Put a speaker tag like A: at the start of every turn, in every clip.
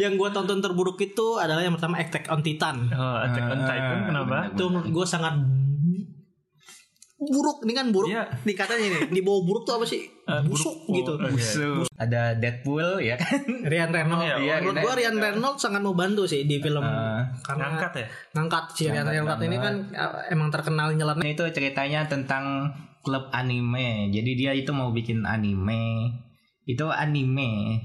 A: Yang gue tonton terburuk itu adalah yang pertama Attack on Titan.
B: Oh, Attack on Titan kenapa?
A: Itu menurut gue sangat buruk. Ini kan buruk.
B: Iya.
A: Nih katanya nih, di bawah buruk tuh apa sih?
B: Eh,
A: Busuk
B: buruk.
A: gitu.
B: Oh, oke.
C: Busuk. Ada Deadpool ya kan.
A: Ryan Reynolds.
B: Iya,
C: iya,
A: menurut
C: iya.
A: gue Ryan Reynolds sangat mau bantu sih di film
C: Eh,
A: karena
B: Ngangkat ya?
A: ngangkat sih Ryan
C: Ngangkat
A: Reynolds ini kan eh, emang terkenal nyeleneh.
C: Nah, itu ceritanya tentang klub anime. Jadi dia itu mau bikin anime. Itu anime.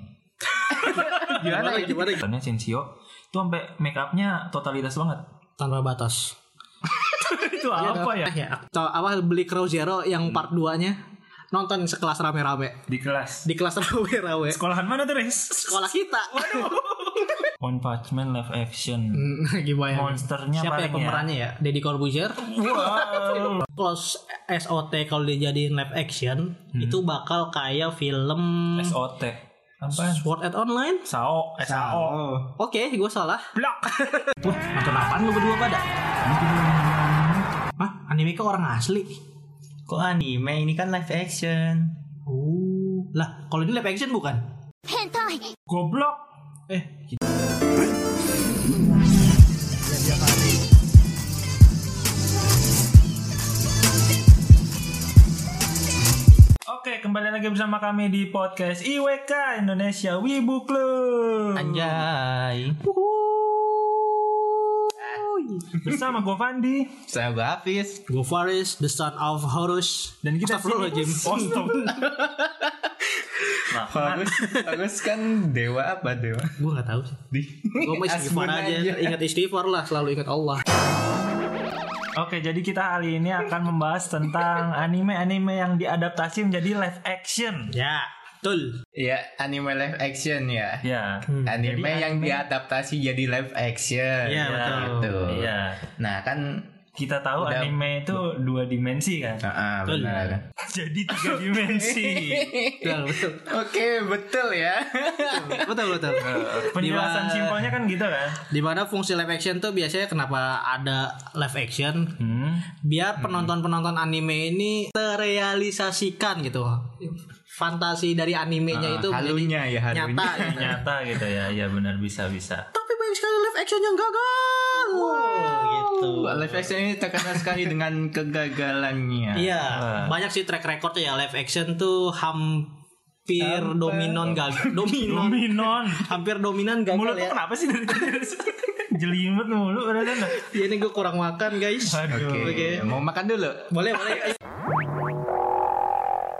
A: Gimana gimana
B: Karena Sensio itu sampai make upnya totalitas banget.
A: tanpa batas.
B: itu apa ya? Hmm.
A: Eh, ya? Atau awal beli Crow Zero yang part 2-nya nonton sekelas rame-rame.
B: Di kelas.
A: Di kelas rame-rame
B: Sekolahan mana tuh, Riz?
A: sekolah kita.
B: One Punch Man live action.
A: Hmm, Gimana?
B: Monsternya
A: Siapa ya
B: paling ya?
A: pemerannya ya? Deddy Corbuzier.
B: Wow.
A: Kalau SOT kalau dijadiin live action itu bakal kayak film
B: SOT. Apa?
A: Sword Art Online.
B: Sao, eh, Sao.
A: Oke, gue salah.
B: Blok.
A: Wah, nonton apaan lu berdua pada? Hah? Anime ke orang asli?
C: Kok anime ini kan live action.
A: Oh. Lah, kalau ini live action bukan?
B: Goblok. Eh, Oke, kembali lagi bersama kami di podcast IWK Indonesia Wibu Club.
C: Anjay.
B: Bersama gue Fandi
C: Saya gue Hafiz.
A: Go Faris, the son of Horus.
B: dan kita
A: Astagfirullahaladzim.
B: Oh, stop. Nah,
C: Bagus, bagus kan dewa apa dewa?
A: Gue gak tahu sih.
C: Di.
A: Gue mau istighfar aja. Ingat istighfar lah, selalu ingat Allah.
B: Oke, jadi kita hari ini akan membahas tentang anime-anime yang diadaptasi menjadi live action.
A: Ya, betul.
C: Iya, anime live action ya.
B: Ya.
C: Anime
B: Jadi
C: yang diadaptasi jadi live action.
A: Hmm. Iya, betul.
C: Gitu.
B: Iya.
C: Nah, kan
B: Kita tahu
C: Udah.
B: anime itu dua dimensi kan.
C: Ah, ah,
A: Betul.
C: benar.
B: Jadi tiga dimensi.
A: Betul, betul.
C: Oke, betul ya.
A: Betul, betul.
B: Penjelasan
A: Dua-
B: simpelnya kan gitu kan.
A: Dimana fungsi live action tuh biasanya kenapa ada live action?
B: Hmm.
A: biar penonton-penonton anime ini terrealisasikan gitu fantasi dari animenya itu
C: halunya ya
A: menjadi
C: halunya.
A: nyata gitu.
B: Nyata gitu ya. Ya benar bisa bisa.
A: tapi banyak sekali live action yang gagal wow, gitu
C: Live action ini terkenal sekali dengan kegagalannya.
A: iya banyak sih track recordnya ya live action tuh hampir dominan gagal dominan
B: Dominon.
A: hampir dominan gagal
B: Mulut tuh
A: ya
B: kenapa sih dari tadi? Jelimet mulu udah sana.
A: ya ini gue kurang makan guys
B: Aduh.
C: Oke,
A: Oke.
C: mau makan dulu.
A: boleh boleh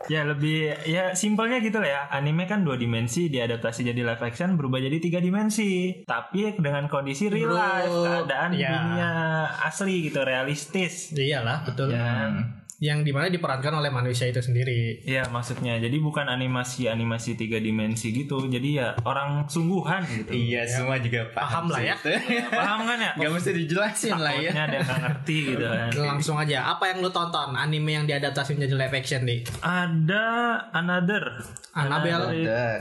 B: Ya lebih ya simpelnya gitu lah ya. Anime kan dua dimensi diadaptasi jadi live action berubah jadi tiga dimensi. Tapi dengan kondisi real
A: Bro,
B: life, keadaan
A: ya.
B: dunia asli gitu, realistis.
A: iyalah betul
B: Ya.
C: Hmm.
B: Dan
A: yang dimana diperankan oleh manusia itu sendiri
B: ya maksudnya jadi bukan animasi animasi tiga dimensi gitu. Jadi ya orang sungguhan gitu.
C: Iya, semua juga
A: Paham
C: paham,
A: lah
C: sih
A: ya.
C: itu.
B: Paham kan ya?
C: Gak mesti dijelasin lah ya.
B: Takutnya ada yang nggak ngerti gitu kan.
A: langsung aja apa yang lu tonton anime yang diadaptasi menjadi live action nih
B: Ada another
A: Annabelle
C: Bentar.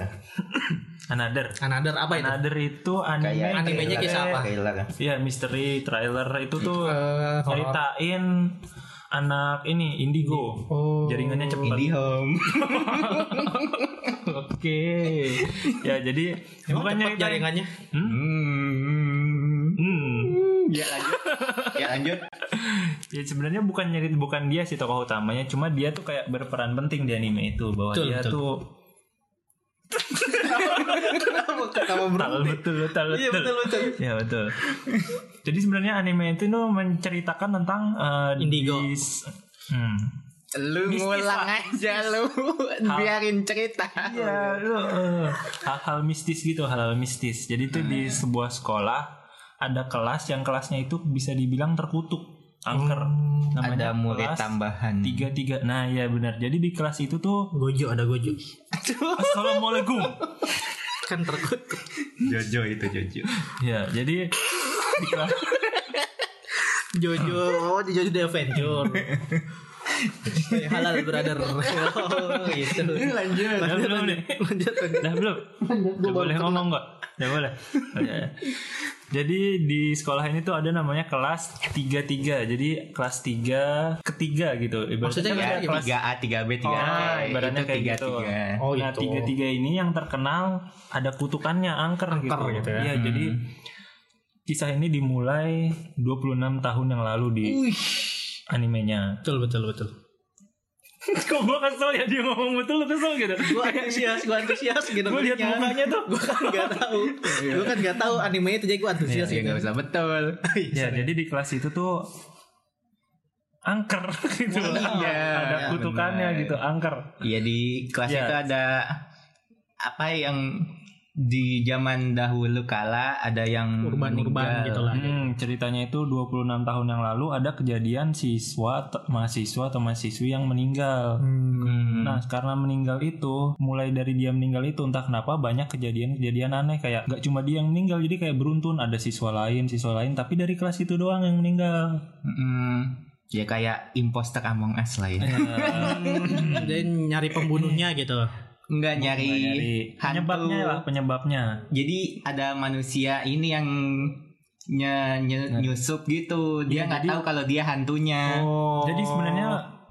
B: another.
A: Another apa itu
B: Another itu anime
C: Kayak
A: Animenya
B: dari-
A: kisah apa?
C: Trailer.
B: Iya misteri trailer itu tuh
C: Oh.
A: Eh, horor.
B: ceritain anak ini indigo
A: Oh.
B: jaringannya cepat.
C: Indie Home.
B: Oke. Ya jadi
A: Emang
B: bukannya
A: cepet
B: kita-
A: jaringannya
C: Hmm.
B: Hmm.
C: Ya lanjut. Ya lanjut.
B: Ya sebenarnya bukan nyari bukan dia sih tokoh utamanya, cuma dia tuh kayak berperan penting di anime itu bahwa
A: Betul,
B: dia
A: betul.
B: tuh
A: Kamu
B: Betul, betul betul betul.
A: Iya, betul, betul.
B: Ya betul. jadi sebenarnya anime itu tuh menceritakan tentang eh,
A: Indigo.
B: dis- Hmm.
C: Lu
B: Bisnis
C: ngulang
B: lah,
C: aja lu. Biarin cerita.
B: Iya, lu, eh, hal-hal mistis gitu, hal-hal mistis. Jadi itu di
C: Hmm.
B: sebuah sekolah ada kelas yang kelasnya itu bisa dibilang terkutuk, angker.
C: Hmm, Ada murid
B: kelas
C: tambahan.
B: Tiga tiga. Nah ya benar. Jadi di kelas itu tuh
A: Gojo ada Gojo.
B: Assalamualaikum.
A: Kan terkut.
C: Jojo itu Jojo.
B: ya jadi di kelas
A: Jojo, oh di Jojo The Adventure. Stay halal brother. Oh, gitu.
C: lanjut
B: Udah belum nih?
A: Lanjut.
B: Udah belum? Udah boleh ngomong nggak? Udah boleh. Oh, ya, ya. Jadi di sekolah ini tuh ada namanya kelas 33. Jadi kelas 3 ketiga gitu.
A: Maksudnya
B: kan
A: kayak
B: ada
A: gimana?
B: kelas
C: Ya, tiga A tiga B
B: Oh,
C: tiga A
B: ibaratnya kayak
C: tiga
B: gitu.
C: tiga
A: Oh,
B: nah,
A: gitu.
B: tiga-tiga ini yang terkenal ada kutukannya angker, gitu.
A: gitu ya.
B: Iya, jadi kisah ini dimulai 26 tahun yang lalu di animenya.
A: Betul betul betul.
B: Kok gue kesel ya dia ngomong betul lu kesel gitu.
A: Gue antusias, gue antusias gitu.
B: Gue lihat mukanya tuh.
A: Gue kan nggak tahu.
B: Iya.
A: Gue kan nggak tahu anime itu jadi gue
C: Iya, Oh,
A: antusias
C: ya,
A: gitu.
C: nggak bisa betul.
B: Ya, jadi di kelas itu tuh angker gitu.
C: Iya,
B: ada
C: iya,
B: kutukannya
C: benar.
B: gitu, angker.
C: Iya di kelas
B: Iya.
C: itu ada apa yang di zaman dahulu kala ada yang
A: Urban-urban
C: meninggal.
A: gitu lah.
B: Hmm, ceritanya itu 26 tahun yang lalu ada kejadian siswa atau- mahasiswa atau mahasiswi yang meninggal.
C: Hmm.
B: Nah, karena meninggal itu, mulai dari dia meninggal itu entah kenapa banyak kejadian-kejadian aneh kayak gak cuma dia yang meninggal, jadi kayak beruntun ada siswa lain, siswa lain, tapi dari kelas itu doang yang meninggal.
C: Mm-mm. ya kayak imposter Among Us lah
B: Iya.
C: ya.
B: Nah, kan.
A: Jadi nyari pembunuhnya gitu.
C: Enggak
B: Iya,
C: nyari hantu.
B: penyebabnya lah, penyebabnya.
C: Jadi ada manusia ini yang nye- nye- nyusup gitu.
B: Iya,
C: Dia nggak
B: jadi-
C: tahu kalau dia hantunya.
A: Oh.
B: Jadi sebenarnya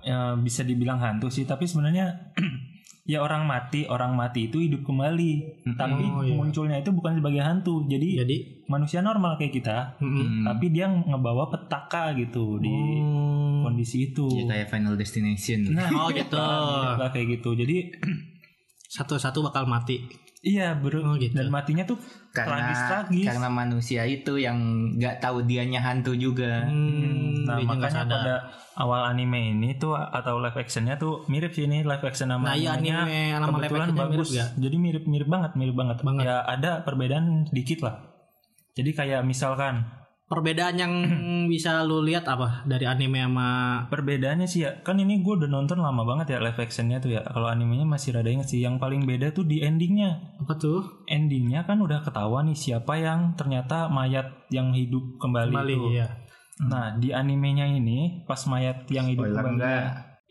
B: ya, bisa dibilang hantu sih, tapi sebenarnya ya orang mati, orang mati itu hidup kembali.
C: Hmm.
B: Tapi
A: Oh, iya.
B: munculnya itu bukan sebagai hantu. Jadi
A: jadi
B: manusia normal kayak kita,
A: mm-mm.
C: Hmm.
B: tapi dia ngebawa petaka gitu di
A: Hmm.
B: kondisi itu.
C: Ya, kayak Final Destination.
B: Nah,
A: Oh gitu.
B: lah kayak gitu. Jadi
A: Satu-satu bakal mati.
B: Iya bro
A: Oh, gitu.
B: Dan matinya tuh
C: karena
B: tragis-tragis
C: karena manusia itu yang nggak tahu dianya hantu juga.
A: Hmm,
B: Nah
A: dia nggak
B: makanya
A: sadar.
B: pada awal anime ini tuh Atau live actionnya tuh mirip sih ini Live action sama
A: Nah, iya,
B: animenya.
A: anime sama live
B: Kebetulan
A: actionnya mirip
B: bagus
A: nggak?
B: Jadi mirip-mirip banget mirip banget. Ya ada perbedaan dikit lah Jadi kayak misalkan
A: Perbedaan yang bisa lu lihat apa dari anime sama
B: Perbedaannya sih ya Kan ini gue udah nonton lama banget ya live actionnya tuh ya Kalau animenya masih rada inget sih Yang paling beda tuh di endingnya
A: apa tuh?
B: Endingnya kan udah ketahuan nih Siapa yang ternyata mayat yang hidup kembali,
A: Bali,
B: itu
A: iya.
B: Nah di animenya ini pas mayat yang hidup
C: Spoiler
B: kembali
C: nggak?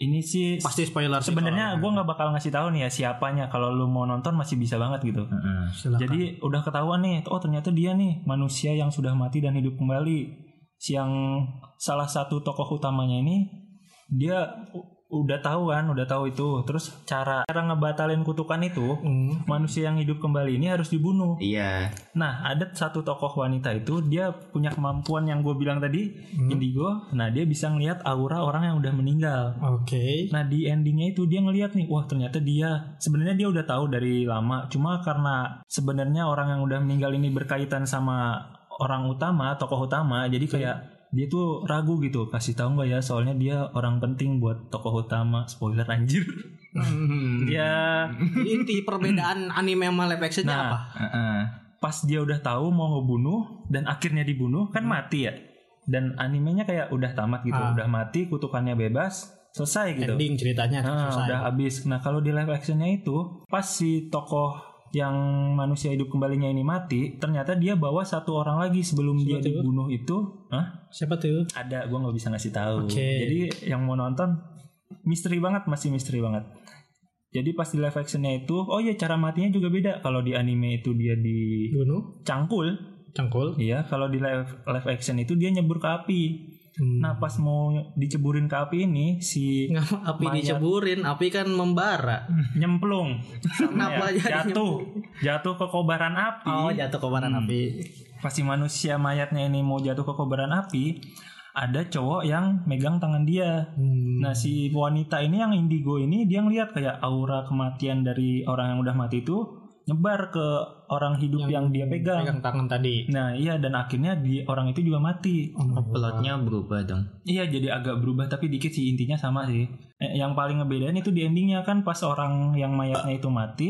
B: ini sih
A: Pasti spoiler sih
B: sebenarnya gue nggak bakal ngasih tahu nih ya siapanya kalau lu mau nonton masih bisa banget gitu.
C: Mm-mm.
A: kalau- Silakan.
B: Jadi udah ketahuan nih, oh ternyata dia nih manusia yang sudah mati dan hidup kembali. Siang salah satu tokoh utamanya ini dia u- udah tahu kan, udah tahu itu. Terus cara cara ngebatalin kutukan itu
A: Hmm.
B: manusia yang hidup kembali ini harus dibunuh.
C: Iya.
B: Nah, ada satu tokoh wanita itu dia punya kemampuan yang gue bilang tadi
A: hmm.
B: indigo. Nah, dia bisa ngelihat aura orang yang udah meninggal.
A: Oke.
B: Nah, di endingnya itu dia ngelihat nih, wah ternyata dia sebenarnya dia udah tahu dari lama. Cuma karena sebenarnya orang yang udah meninggal ini berkaitan sama orang utama, tokoh utama, jadi kayak dia tuh ragu gitu kasih tahu nggak ya soalnya dia orang penting buat tokoh utama spoiler anjir Hmm.
C: Hmm.
B: dia
A: Jadi Inti perbedaan anime sama live actionnya
B: Nah.
A: apa?
C: Heeh.
B: pas dia udah tahu mau ngebunuh dan akhirnya dibunuh kan mati ya dan animenya kayak udah tamat gitu
A: Ah.
B: udah mati kutukannya bebas selesai gitu
A: Ending ceritanya ya,
B: Ah,
A: selesai.
B: udah habis. Nah kalau di live actionnya itu pas si tokoh yang manusia hidup kembalinya ini mati, ternyata dia bawa satu orang lagi sebelum dia
A: Siapa tuh?
B: dibunuh itu. Hah?
A: Siapa tuh?
B: Ada, gua nggak bisa ngasih tahu.
A: Oke.
B: Jadi yang mau nonton misteri banget, masih misteri banget. Jadi pas di live actionnya itu, oh iya cara matinya juga beda. Kalau di anime itu dia
A: Gunung,
B: dicangkul,
A: cangkul.
B: iya. Kalau di live live action itu dia nyebur ke api. Nah pas mau diceburin ke api ini si
A: Hmm. Nggak, api
B: Mayat.
A: diceburin, api kan membara.
B: nyemplung
A: Kenapa
B: Ya,
A: jadi
B: jatuh jatuh ke kobaran api
A: Oh, jatuh kobaran api.
B: pasti manusia mayatnya ini mau jatuh ke kobaran api ada cowok yang megang tangan dia
A: Hmm.
B: nah si wanita ini yang indigo ini dia ngeliat kayak aura kematian dari orang yang udah mati itu nyebar ke orang hidup yang, dia pegang.
A: Pegang tangan tadi.
B: nah iya dan akhirnya di orang itu juga mati
C: Plotnya berubah dong.
B: Iya jadi agak berubah tapi dikit sih intinya sama sih. Eh, yang paling ngebedain itu di endingnya kan pas orang yang mayatnya itu mati.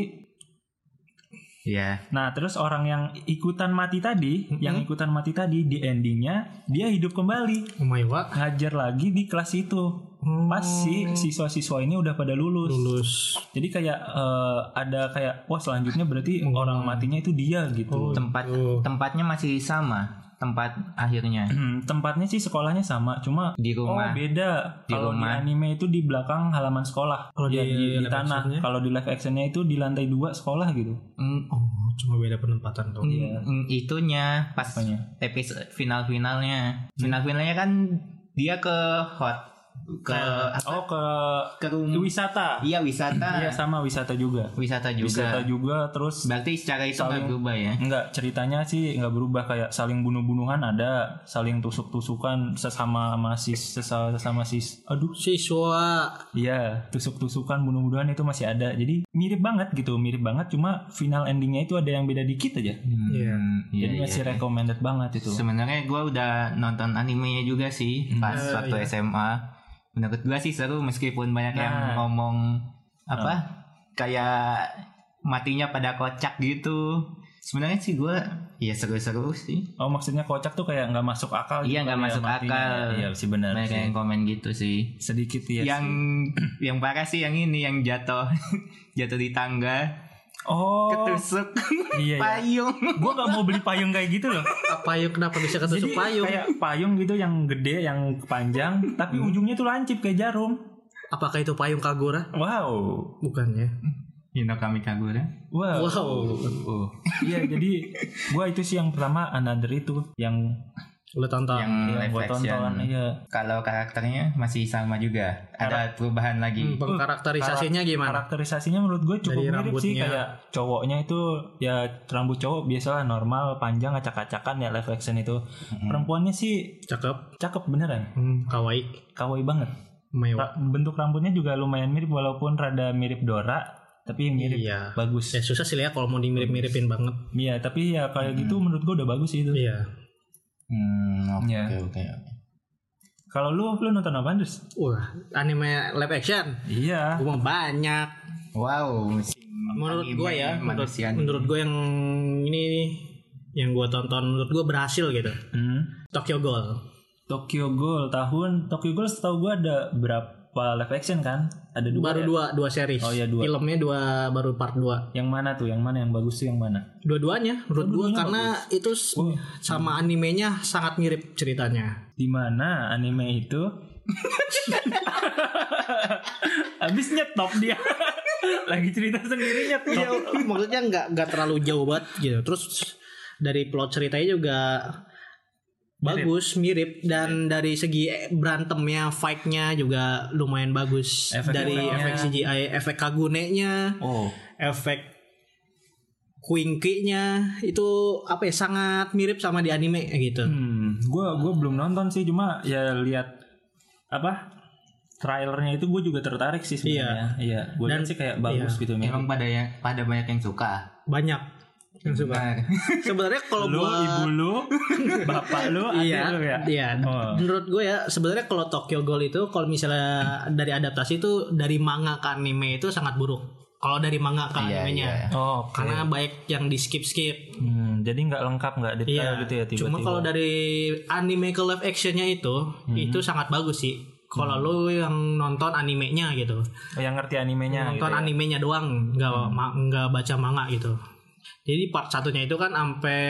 C: Iya.
B: Nah terus orang yang ikutan mati tadi,
A: Mhm.
B: yang ikutan mati tadi di endingnya dia hidup kembali
A: Oh my god.
B: ngajar lagi di kelas itu. Pas si siswa-siswa ini udah pada lulus.
A: Oh. lulus.
B: Jadi kayak eh, ada kayak wah selanjutnya berarti orang matinya itu dia gitu.
C: Tempat
A: Oh.
C: tempatnya masih sama. tempat akhirnya
B: Tempatnya sih sekolahnya sama, cuma
C: di
B: oh
C: rumah.
B: beda.
C: Di
B: Kalau di
C: rumah.
B: anime itu di belakang halaman sekolah. Kalau
A: Iya,
B: di, di,
A: iya,
B: di
A: live
B: tanah,
A: actionnya.
B: kalau di live actionnya itu di lantai dua sekolah gitu.
C: Mm,
A: Oh, cuma beda penempatan tuh.
B: Hmm.
C: mm, mm, itunya pas
B: Iya. Apanya?
C: episode final finalnya. Final finalnya kan dia ke hot ke
B: Oh ke
C: ke rumah.
B: wisata.
C: Iya wisata.
B: Iya sama wisata juga.
C: Wisata juga.
B: Wisata juga terus
C: Berarti secara itu nggak
B: Saling-
C: berubah ya.
B: Enggak, ceritanya sih nggak berubah kayak saling bunuh-bunuhan ada, saling tusuk-tusukan sesama masis sesama, sesama sis. Aduh,
A: Siswa
B: iya, tusuk-tusukan bunuh-bunuhan itu masih ada. Jadi mirip banget gitu, mirip banget cuma final endingnya itu ada yang beda dikit aja.
A: Iya.
C: Hmm, iya,
B: Jadi
C: iya.
B: masih recommended banget itu.
C: Sebenarnya gue udah nonton animenya juga sih
B: Hmm.
C: pas
A: Eh,
C: waktu
A: iya.
C: SMA. Menurut gue sih seru meskipun banyak yang
B: Nah. Ah.
C: ngomong apa kayak matinya pada kocak gitu. Sebenarnya sih gue ya seru-seru sih.
B: Oh maksudnya kocak tuh kayak nggak masuk akal.
C: Iya,
B: gitu
C: nggak
B: kan ya,
C: masuk
B: matinya.
C: akal.
B: Iya sih benar.
C: Banyak
B: sih.
C: yang komen gitu sih.
B: Sedikit ya.
C: yang yang parah sih yang ini yang jatuh jatuh di tangga
B: Oh
C: ketusuk
B: iya. iya.
C: payung.
B: Gue nggak mau beli payung kayak gitu loh.
A: apa yuk kenapa bisa ketusuk
B: Jadi
A: payung?
B: kayak payung gitu yang gede, yang panjang, tapi
C: Hmm.
B: ujungnya tuh lancip kayak jarum.
A: Apakah itu payung Kagura?
B: Wow.
A: Bukan ya.
B: Nah.
C: Hino kami kagura.
B: Wow.
A: Wow.
B: Iya, jadi gua itu sih yang pertama Another itu yang
A: Udah
C: Yang
A: tantang.
B: Ah, yang
C: live
B: gua
C: action.
B: tonton iya.
C: Kalau karakternya masih sama juga. Ada perubahan lagi.
A: Hmm, pengkarakterisasinya gimana?
B: Karakterisasinya menurut gue cukup
A: Dari
B: mirip sih
A: rambutnya.
B: kayak cowoknya itu ya rambut cowok biasalah normal, panjang, acak-acakan ya live action itu.
A: Hmm.
C: Hmm.
B: Perempuannya sih
A: Cakep.
B: cakep beneran,
A: Hmm, kawaii.
B: kawaii banget.
A: Mewah.
B: Ra- bentuk rambutnya juga lumayan mirip walaupun rada mirip Dora, tapi mirip
A: Iya.
B: bagus.
A: Ya susah sih ya kalau mau dimirip-miripin banget.
B: Iya, tapi ya kayak gitu menurut gua udah bagus sih itu.
A: Hmm. Iya.
C: Hmm, oke
B: Iya.
C: oke.
B: Kalau lu lu nonton apa terus?
A: Wah, anime live action.
B: Iya.
A: Gua mau banyak.
C: Wow, musim
A: Menurut
C: anime
A: gue ya, menurut,
C: manusia nih.
A: menurut gue yang ini nih, yang gue tonton menurut gue berhasil gitu.
B: Hmm.
A: Tokyo Ghoul.
B: Tokyo Ghoul tahun Tokyo Ghoul setahu gua ada berapa live action kan? Ada dua.
A: baru
B: ya?
A: dua dua series.
B: Oh, iya, dua.
A: Filmnya dua baru part dua.
B: Yang mana tuh? Yang mana yang bagus tuh yang mana?
A: Dua-duanya menurut gue
B: Dua-duanya
A: karena itu s-
B: Wah.
A: sama animenya sangat mirip ceritanya.
B: Di mana anime itu? Abis nyetop dia. Lagi cerita sendiri
A: Iya,
B: nyetop.
A: maksudnya nggak nggak terlalu jauh banget gitu. Terus dari plot ceritanya juga bagus, mirip dan dari segi berantemnya, fight-nya juga lumayan bagus.
B: Efek
A: dari
B: efeknya.
A: efek CGI, efek Kagune-nya,
B: Oh,
A: efek Quinky-nya itu apa ya sangat mirip sama di anime gitu.
B: hmm, gua gua belum nonton sih cuma ya lihat apa? Trailernya itu gue juga tertarik sih sebenarnya. Iya. Gue
A: Dan- iya.
B: sih kayak bagus gitu memang.
C: emang pada ya, pada banyak yang suka. Nah,
A: Banyak yang suka.
C: Benar.
A: Sebenarnya kalau
B: Nah. Lu,
A: gua
B: ibu lu, bapak lu, adik
A: Iya,
B: lu ya.
A: iya.
B: Oh.
A: Menurut gue ya sebenarnya kalau Tokyo Ghoul itu kalau misalnya dari adaptasi itu dari manga ke anime itu sangat buruk. Kalau dari manga ke
C: Iya,
A: animenya.
C: iya.
B: Oh, oke.
A: Karena baik yang di skip-skip.
B: Hmm, jadi nggak lengkap nggak detail
A: Iya.
B: gitu ya tiba-tiba. Mhm.
A: Cuma kalau dari anime ke live actionnya itu itu sangat bagus sih. Kalau lu yang nonton animenya gitu.
B: Oh, yang ngerti animenya
A: nonton
B: gitu. ya. Hmm.
A: animenya doang nggak ma- nggak baca manga gitu jadi part satunya itu kan sampai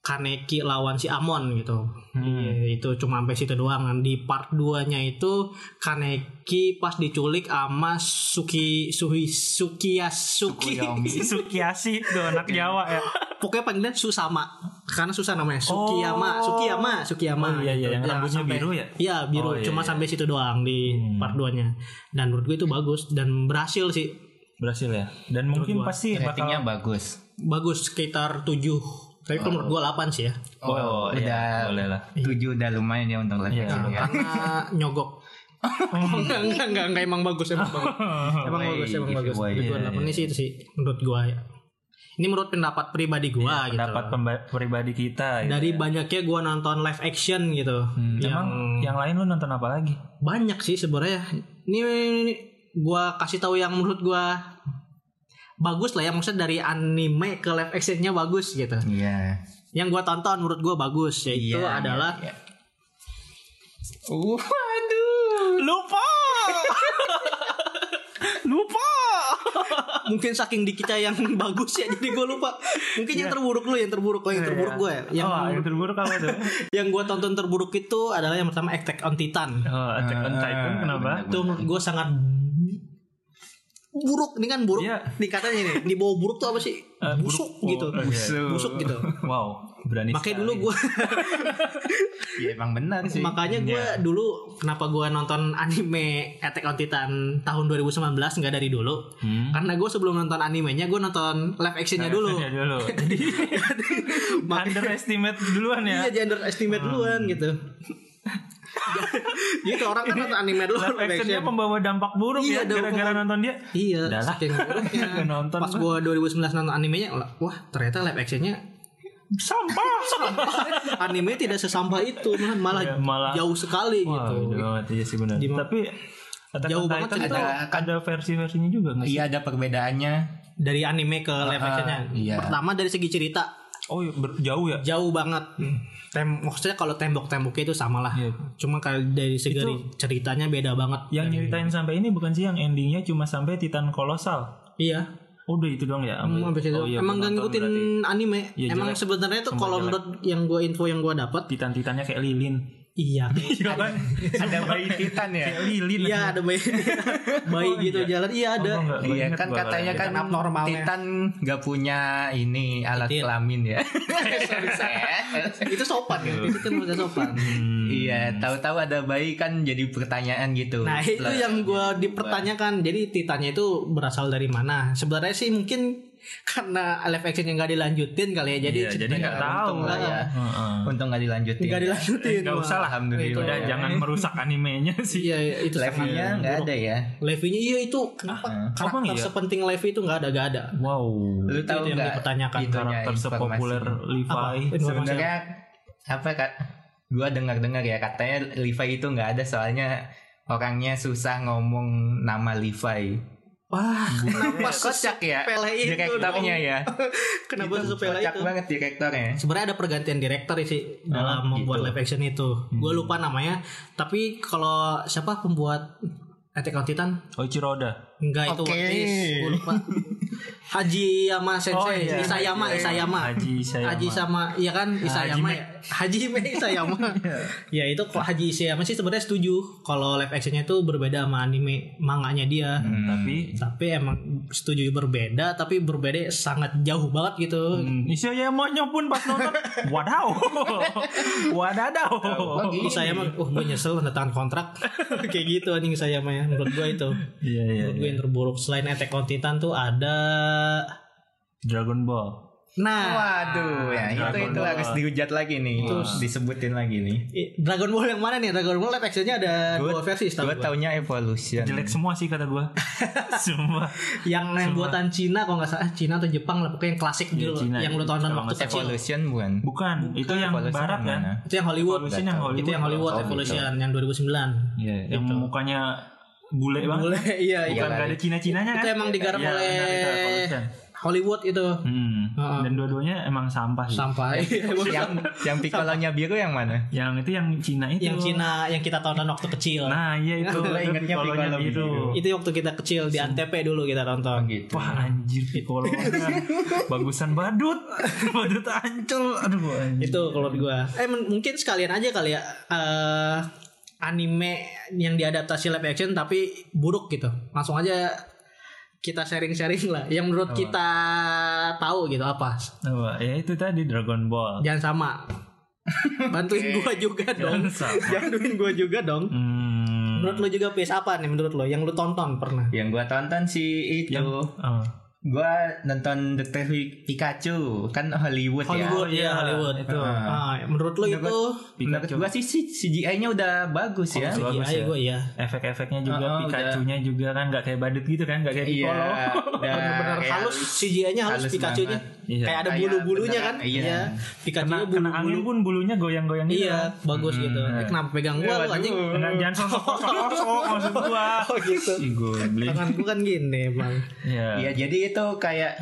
A: Kaneki lawan si Amon gitu
B: Hmm.
A: Iya, itu cuma sampai situ doang di part 2 nya itu Kaneki pas diculik sama Suki Suhi Sukiyasuki
B: Oh, ya
C: Kuyomi.
B: Si Sukiasi tuh anak Jawa ya.
A: pokoknya panggilan Susama karena susah namanya Sukiyama Sukiyama Sukiyama
B: Oh, iya, iya.
A: gitu.
B: Yang rambutnya
A: sampai-
B: biru ya?
A: iya biru
B: Oh, iya,
A: cuma
B: iya. Hmm.
A: sampai situ doang di part 2 nya dan menurut gue itu bagus dan berhasil sih
B: Berhasil ya. Dan mungkin pasti
A: Iya,
B: bakal
C: Ratingnya bagus.
A: bagus sekitar 7 tapi kalau menurut gua 8 sih ya
B: Oh, iya,
C: udah
B: boleh lah.
C: tujuh udah lumayan ya untuk live
B: Iya.
C: action ya.
A: karena nyogok Oh, enggak, enggak, enggak, enggak, emang bagus, emang bagus.
B: Oh,
A: Emang
C: Woi,
A: bagus, emang
C: giveaway.
A: bagus. Menurut gua
B: Iya,
A: delapan. ini sih itu sih menurut gua ya. Ini menurut pendapat pribadi gua gitu.
B: Iya, pendapat pemba- pribadi kita gitu.
A: Dari banyaknya gua nonton live action gitu.
B: Hmm,
A: yang
B: Emang yang lain lu nonton apa lagi?
A: banyak sih sebenarnya. Ini, ini, ini gua kasih tahu yang menurut gua bagus lah ya maksudnya dari anime ke live actionnya bagus gitu.
C: Iya.
A: Yang gua tonton menurut gua bagus yaitu
C: Iya,
A: adalah
C: iya, iya. Waduh, lupa.
B: Lupa.
A: mungkin saking dikitnya yang bagus ya jadi gue lupa mungkin yang terburuk lu yang terburuk lo yang terburuk gue ya yang
B: Iya. oh, yang terburuk apa tuh?
A: yang gue tonton terburuk itu adalah yang pertama Attack on Titan
B: Oh, Attack on Titan kenapa?
A: itu menurut gue sangat buruk ini kan buruk
B: Iya.
A: nih katanya nih di bawah buruk tuh apa sih
B: Eh, buruk.
A: busuk
B: Oh,
A: gitu
B: oke.
A: busuk, busuk gitu
B: Wow, berani.
A: makanya dulu gue
C: Ya emang benar sih.
A: makanya gue
B: Iya.
A: dulu kenapa gue nonton anime Attack on Titan tahun 2019 nggak dari dulu
B: Hmm.
C: Hmm?
A: karena gue sebelum nonton animenya gue nonton live actionnya dulu
B: Ya dulu. Jadi
A: makanya
B: underestimate duluan ya.
A: iya gender estimate duluan gitu gitu orang kan nonton anime dulu
B: Live
A: live
B: actionnya
A: action
B: membawa dampak buruk
A: Iya,
B: ya
A: dampak
B: gara-gara
A: buruk.
B: nonton dia.
A: Iya,
B: Udah lah.
A: saking buruknya.
B: Nggak nonton
A: Pas
B: gua.
A: gua 2019 nonton animenya, wah ternyata live actionnya
B: Sampah, sampah.
A: anime tidak sesampah itu, malah, malah
B: Iya, malah-
A: jauh sekali
B: Wah,
A: gitu.
B: gitu banget iya sih benar.
A: Di-
B: Tapi Attack
A: Jauh
B: on
A: banget
B: Titan
A: cerita.
B: tuh ada versi-versinya juga nggak sih?
C: Iya ada perbedaannya.
A: Dari anime ke live
C: Ah,
A: actionnya,
C: iya.
A: pertama dari segi cerita
B: Oh, iya, ber- jauh ya.
A: jauh banget. Tem maksudnya kalau tembok-temboknya itu sama lah.
B: Iya.
A: Cuma kalau dari segi ceritanya beda banget.
B: Yang nyeritain sampai ini bukan sih yang endingnya cuma sampai Titan kolosal.
A: Iya.
B: Udah itu doang ya.
A: Hmm,
B: Ambil-
A: abis itu.
B: Oh iya,
A: Emang gak
B: gua nonton
A: ngikutin
B: berarti.
A: anime.
B: Iya,
A: Emang
B: jelek.
A: sebenarnya itu
B: Semua
A: kalau
B: jelek.
A: menurut yang gue info yang gue dapat,
B: Titan-titannya kayak lilin.
A: iya.
B: Iya kan?
C: Ada bayi titan ya.
B: Kayak lilin.
A: Iya ada bayi bayi
B: Oh,
A: gitu
B: iya.
A: jalan iya ada
B: Oh, enggak, gua
C: Iya
B: inget
C: kan
B: gua.
C: katanya kan
A: Titan abnormalnya.
C: Titan gak punya ini alat
A: Titin.
C: kelamin ya.
B: Eh,
C: Sorry, saya.
A: itu sopan ya itu kan maksudnya sopan
B: Hmm,
C: Iya, tahu-tahu ada bayi kan jadi pertanyaan gitu.
A: nah itu yang
B: Iya,
A: gue dipertanyakan jadi titanya itu berasal dari mana sebenarnya sih mungkin karena live action yang nggak dilanjutin kali ya jadi
B: Iya, jadi nggak tahu.
C: Untung lah ya.
B: Heeh.
C: Untung gak dilanjutin.
A: nggak dilanjutin
B: Eh, Nggak usah lah.
C: Alhamdulillah.
B: Udah jangan merusak animenya sih.
A: iya iya, itu
C: Levelnya
A: sangat
C: nggak
A: buruk.
C: ada ya.
A: Levinya iya itu kenapa
B: Emang
A: karakter
B: iya?
A: sepenting Levi itu nggak ada nggak ada
B: Wow.
C: Lu tahu
A: yang
C: nggak
A: dipertanyakan,
C: itunya
B: Karakter
C: informasi?
B: sepopuler
A: Apa?
B: Levi.
C: Sebenarnya apa kak? Gua dengar-dengar ya katanya Levi itu nggak ada soalnya orangnya susah ngomong nama Levi.
A: wah kenapa
C: Kocak ya
A: sepele itu
C: direktornya
A: dong?
C: ya.
A: kenapa sepele
C: Kocak
A: itu
C: banget direktornya.
A: sebenarnya ada pergantian direktur sih dalam membuat
C: gitu.
A: live action itu. Gue lupa namanya, tapi kalau siapa pembuat Attack on Titan?
B: Oh, Oichiroda.
A: Enggak itu
C: Oke.
A: what is. Gua lupa. Haji Yama Sensei,
B: iya.
A: Isayama, Isayama.
B: Haji Isayama.
A: Haji sama iya kan Isayama ya. Haji Me Isayama. ya itu kalau Haji Isayama sih sebenarnya setuju kalau live actionnya itu berbeda sama anime manganya dia.
B: Tapi
A: Tapi emang setuju berbeda tapi berbeda sangat jauh banget gitu.
B: Hmm. Isayamanya pun pas nonton Wadaw Wadadaw iya.
A: Oh, saya mah, oh gue nyesel tanda tangan kontrak kayak gitu anjing saya mah ya menurut gue itu
B: Iya iya
A: menurut gue yang terburuk selain Attack on Titan tuh ada
B: Dragon Ball
A: nah
C: Waduh, ya itu
B: Nah, Dragon
C: itu
B: Ball.
C: harus dihujat lagi nih. Terus disebutin lagi nih.
A: i- Dragon Ball yang mana nih Dragon Ball live actionnya ada dua versi setahu
C: Gue
A: gue
C: taunya Evolution.
B: Jelek semua sih kata gua Semua
A: yang yang buatan Cina kalau nggak salah Cina atau Jepang lah pokoknya yang klasik
B: Iya,
A: gitu loh,
B: Cina.
A: yang lu tonton
B: Kalau
A: waktu
B: nggak
A: kecil
C: Evolution bukan?
B: Bukan Itu yang
C: Evolution
B: barat
C: yang ya?
B: kan
C: mana?
A: itu yang Hollywood
B: Evolution yang Hollywood gitu.
A: itu yang Hollywood
C: Oh,
A: Evolution yang 2009
B: Iya Yang mukanya bule banget
A: boleh iya
B: Bukan
A: iya
B: nggak ada Cina-Cinanya kan
A: itu emang digarap
B: Iya,
A: oleh
B: benar, itu Evolution.
A: Hollywood itu
B: Hmm.
A: Heeh.
B: Dan dua-duanya emang sampah sih
A: sampai
B: iya,
C: Yang yang piccolonya biru yang mana?
B: Yang itu yang Cina itu
A: yang Cina yang kita tonton waktu kecil
B: Nah iya itu
C: Gua ingatnya
B: Piccolo-nya
C: Piccolo
B: biru.
C: biru.
A: itu waktu kita kecil di Antep dulu kita
B: Oh,
A: nonton
C: Gitu.
B: Wah anjir Piccolo Bagusan badut Badut ancol Aduh anjir
A: itu kalau di gua eh men- mungkin sekalian aja kali ya eh, anime yang diadaptasi live action tapi buruk gitu langsung aja kita sharing-sharing lah yang
B: Oh.
A: menurut kita tahu gitu apa
B: Apa? Ya itu tadi Dragon Ball.
A: jangan sama bantuin gua juga dong
B: sama.
A: bantuin gua juga dong
B: Hmm.
A: menurut lo juga PS apa nih menurut lo yang lo tonton pernah
C: Yang gua tonton si itu.
B: Oh.
C: Gua nonton Detektif Pikachu kan Hollywood,
A: Hollywood
B: iya,
A: ya Hollywood
B: itu.
A: Ah, menurut lo itu
C: ya. Menurut gua sih CGI-nya udah bagus ya.
B: Bagus
A: iya
B: ya.
A: gue ya
B: Efek-efeknya juga
A: Ah,
C: Oh,
B: Pikachu-nya juga kan nggak kayak badut gitu kan, nggak kayak
C: Iya.
B: Piccolo.
C: udah
A: benar-benar
C: kayak
A: halus CGI-nya halus,
C: halus
A: Pikachu-nya
C: banget.
B: Iya.
A: kayak ada
C: Kayak
A: bulu-bulunya kan
C: beneran, iya.
A: Pikachu
B: Kena, kena angin
A: bulu-bulu
B: pun bulunya goyang-goyang gitu. Iya,
A: iya bagus gitu kenapa pegang gua lo anjing
C: Waduh.
B: Jangan jangan sosok sosok sosok maksud gua.
A: oh gitu
B: Ih, goblin.
A: tangan gua kan gini bang
B: Iya.
C: Iya, jadi itu kayak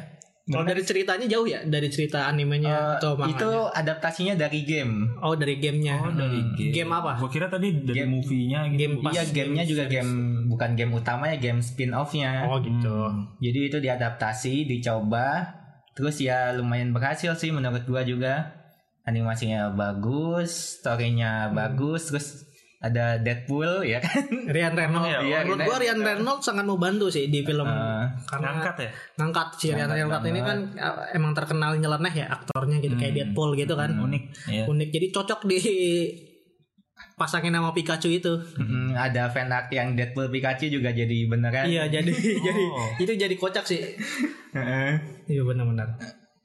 A: kalau dari ceritanya jauh ya dari cerita animenya atau
C: eh, itu
A: manganya
C: adaptasinya dari game.
A: oh dari gamenya Hmm.
B: Oh, dari game.
A: game apa
B: Gua kira tadi dari movie-nya gitu.
A: Game-
B: Pas-
C: Iya, gamenya juga game bukan game utamanya game spin offnya
A: Oh gitu.
B: Hmm.
C: jadi itu diadaptasi dicoba terus ya lumayan berhasil sih menurut gua juga animasinya bagus storynya bagus terus ada Deadpool ya kan
A: Ryan Reynolds.
B: Iya,
C: iya,
A: Menurut gua
C: Ryan
A: Ryan
C: Reynolds.
A: Reynolds sangat mau bantu sih di film
C: Eh,
A: karena ngangkat,
B: ngangkat ya
A: si Ryan
C: Ngangkat
A: Reynolds ini kan uh, emang terkenal nyeleneh ya aktornya gitu kayak
C: Hmm.
A: Deadpool gitu kan.
B: unik ya
A: Unik jadi cocok di pasangin nama Pikachu itu.
C: mm, ada fan art yang Deadpool Pikachu juga jadi beneran
A: Iya jadi jadi
B: Oh.
A: itu jadi kocak sih.
C: Heeh.
A: Iya benar-benar.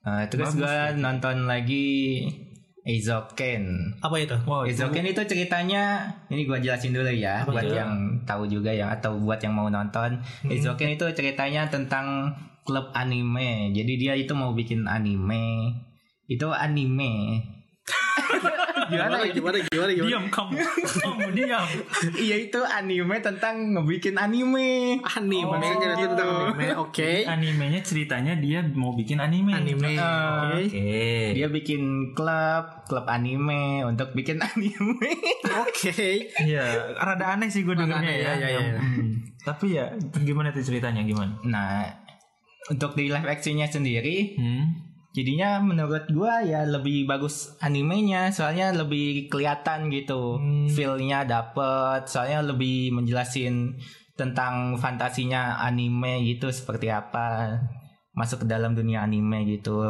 C: Eh, terus gua nonton lagi Izoken
A: Apa itu?
B: wow itu
C: Izoken Oh, itu ceritanya ini gua jelasin dulu ya
A: Gitu. Apa
C: buat
A: itu?
C: yang tahu juga yang atau buat yang mau nonton.
A: Hmm.
C: Izoken itu ceritanya tentang klub anime. Jadi dia itu mau bikin anime. Itu anime. Gimana ya?
A: gimana gimana
B: diam kamu kamu diam
C: Iya itu anime tentang ngebikin anime.
A: Anime
B: Oh,
A: maksudnya itu
B: gitu.
A: tentang anime. Oke.
B: animenya ceritanya dia mau bikin anime
A: Anime.
C: Eh,
A: Oke.
B: oke
C: Dia bikin klub, klub anime untuk bikin anime.
A: Oke.
B: Iya, rada aneh sih gue dengarnya
A: Aneh,
B: ya.
A: iya, iya, iya.
B: Hmm. Tapi ya gimana tuh ceritanya gimana?
C: Nah, untuk di live actionnya sendiri
B: Hmm.
C: jadinya menurut gua ya lebih bagus animenya soalnya lebih kelihatan gitu feel-nya dapet soalnya lebih menjelasin tentang fantasinya anime gitu seperti apa masuk ke dalam dunia anime gitu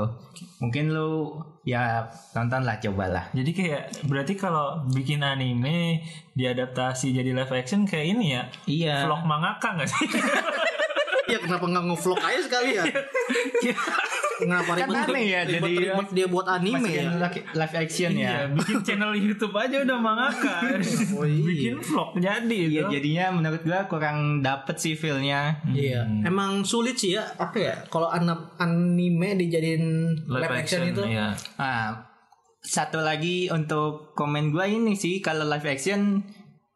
C: mungkin lu ya nonton lah cobalah
B: Jadi kayak berarti kalau bikin anime diadaptasi jadi live action kayak ini ya.
C: iya
B: Vlog mangaka gak sih?
A: Ya kenapa nggak nge-vlog aja sekali ya? Kenapa
C: Kan
A: ribet,
C: aneh ya, jadi
A: ribet, ribet dia buat anime ya?
C: Masukin live- live action ya
B: Iya, bikin channel YouTube aja udah mangaka.
A: Oh, iya.
B: bikin vlog jadi
C: Iya
B: itu.
C: jadinya menurut gua kurang dapet sih feel-nya
A: Iya, emang sulit sih ya. Apa ya? Kalau anak anime dijadiin live, action, itu
B: ya.
C: Ah, satu lagi untuk komen gua ini sih kalau live action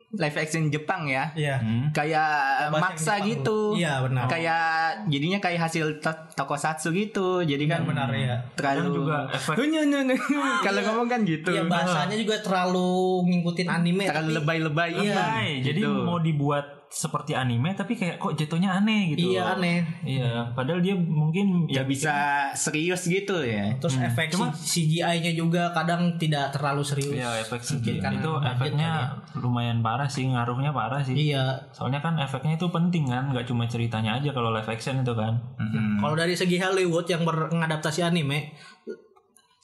C: live action Jepang ya.
A: Iya.
B: Hmm.
C: Kayak
A: Bahasa
C: maksa
A: Jepang
C: gitu.
A: dulu. Iya, benar.
C: Kayak jadinya kayak hasil to- tokusatsu gitu. Jadi kan
A: benar, iya.
B: Kadang
C: Terlalu
B: juga efek.
C: Nyu, nyu, nyu, nyu. Kalau ngomong kan gitu.
A: Iya, bahasanya juga terlalu ngikutin anime.
C: Terlalu
A: tapi-
C: lebay-lebay.
B: Lebay. Jadi
C: gitu.
B: mau dibuat seperti anime tapi kayak kok jatuhnya aneh gitu.
A: Iya aneh.
B: Iya, padahal dia mungkin
C: ya bisa serius gitu ya.
A: Terus efek CGI-nya juga kadang tidak terlalu serius.
B: Ya efek CGI
A: Karena
B: itu
A: budget
B: efeknya lumayan parah sih, ngaruhnya parah sih.
A: Iya.
B: Soalnya kan efeknya itu penting kan, nggak cuma ceritanya aja kalau live action itu kan.
C: Mm-mm.
A: Kalau dari segi Hollywood yang ber- mengadaptasi anime,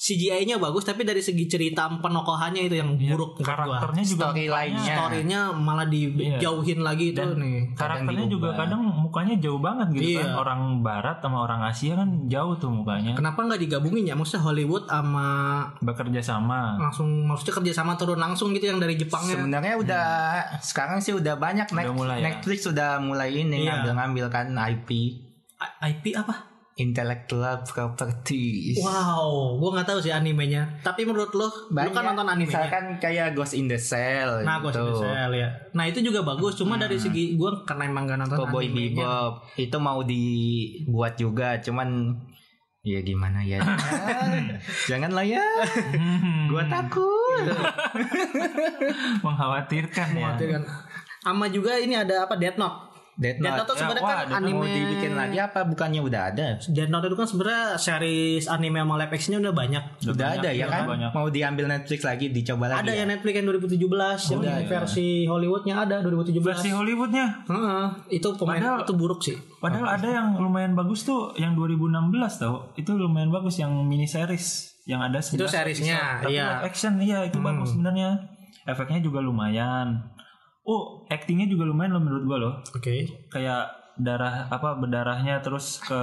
A: CGI-nya bagus tapi dari segi cerita penokohannya itu yang buruk menurut gua.
B: Iya, Karakternya juga
C: Story lainnya.
A: Story-nya malah dijauhin lagi itu nih.
B: karakternya
C: kadang
B: juga
C: diubah.
B: kadang mukanya jauh banget gitu
A: Iya.
B: kan. Orang barat sama orang Asia kan jauh tuh mukanya.
A: Kenapa nggak digabungin ya? Maksudnya Hollywood sama
B: Bekerja sama.
A: langsung maksudnya kerja sama turun langsung gitu yang dari Jepangnya.
C: Sebenarnya udah sekarang sih udah banyak
B: Udah
C: Net-
B: mulai ya.
C: Netflix sudah mulai ini
A: Iya.
C: ngambil-ngambil kan IP
A: I- IP apa?
C: intellectual property.
A: Wow, gua nggak tahu sih animenya. Tapi menurut lo, lo kan nonton animenya.
C: Misalkan kayak Ghost in the Shell gitu.
A: Nah, Ghost in the Shell, ya. Nah, itu juga bagus, cuma dari segi gua karena emang gak nonton
C: Cowboy
A: animenya.
C: Bebop itu mau dibuat juga, cuman ya gimana ya. Janganlah ya.
B: Hmm,
C: Gua takut.
A: Iya.
B: mengkhawatirkan ya.
A: Itu kan. Sama juga ini ada apa Death Note.
C: Dead
A: Death Note
C: Note
A: tuh sebenarnya
B: wah,
A: kan
B: Death
A: anime
C: mau dibikin lagi apa bukannya udah ada?
A: Death Note itu kan sebenarnya series anime sama live actionnya udah banyak. iya,
C: Udah,
B: banyak,
C: ada ya
B: udah
C: kan?
B: banyak.
C: Mau diambil Netflix lagi, dicoba lagi.
A: Ada
C: ya?
A: yang Netflix yang 2017 yang versi Hollywoodnya ada 2017.
B: Versi Hollywoodnya.
A: Heeh, itu pemain
B: Padahal-
A: itu buruk sih.
B: Padahal ada yang lumayan bagus tuh yang 2016 tau. Itu lumayan bagus yang mini series yang ada
A: Itu
B: 11
A: seriesnya,
B: Tapi live
A: iya. Hmm.
B: action iya itu bagus sebenarnya. Efeknya juga lumayan. Oh, actingnya juga lumayan loh menurut gua loh.
A: Oke.
B: Kayak darah apa berdarahnya terus ke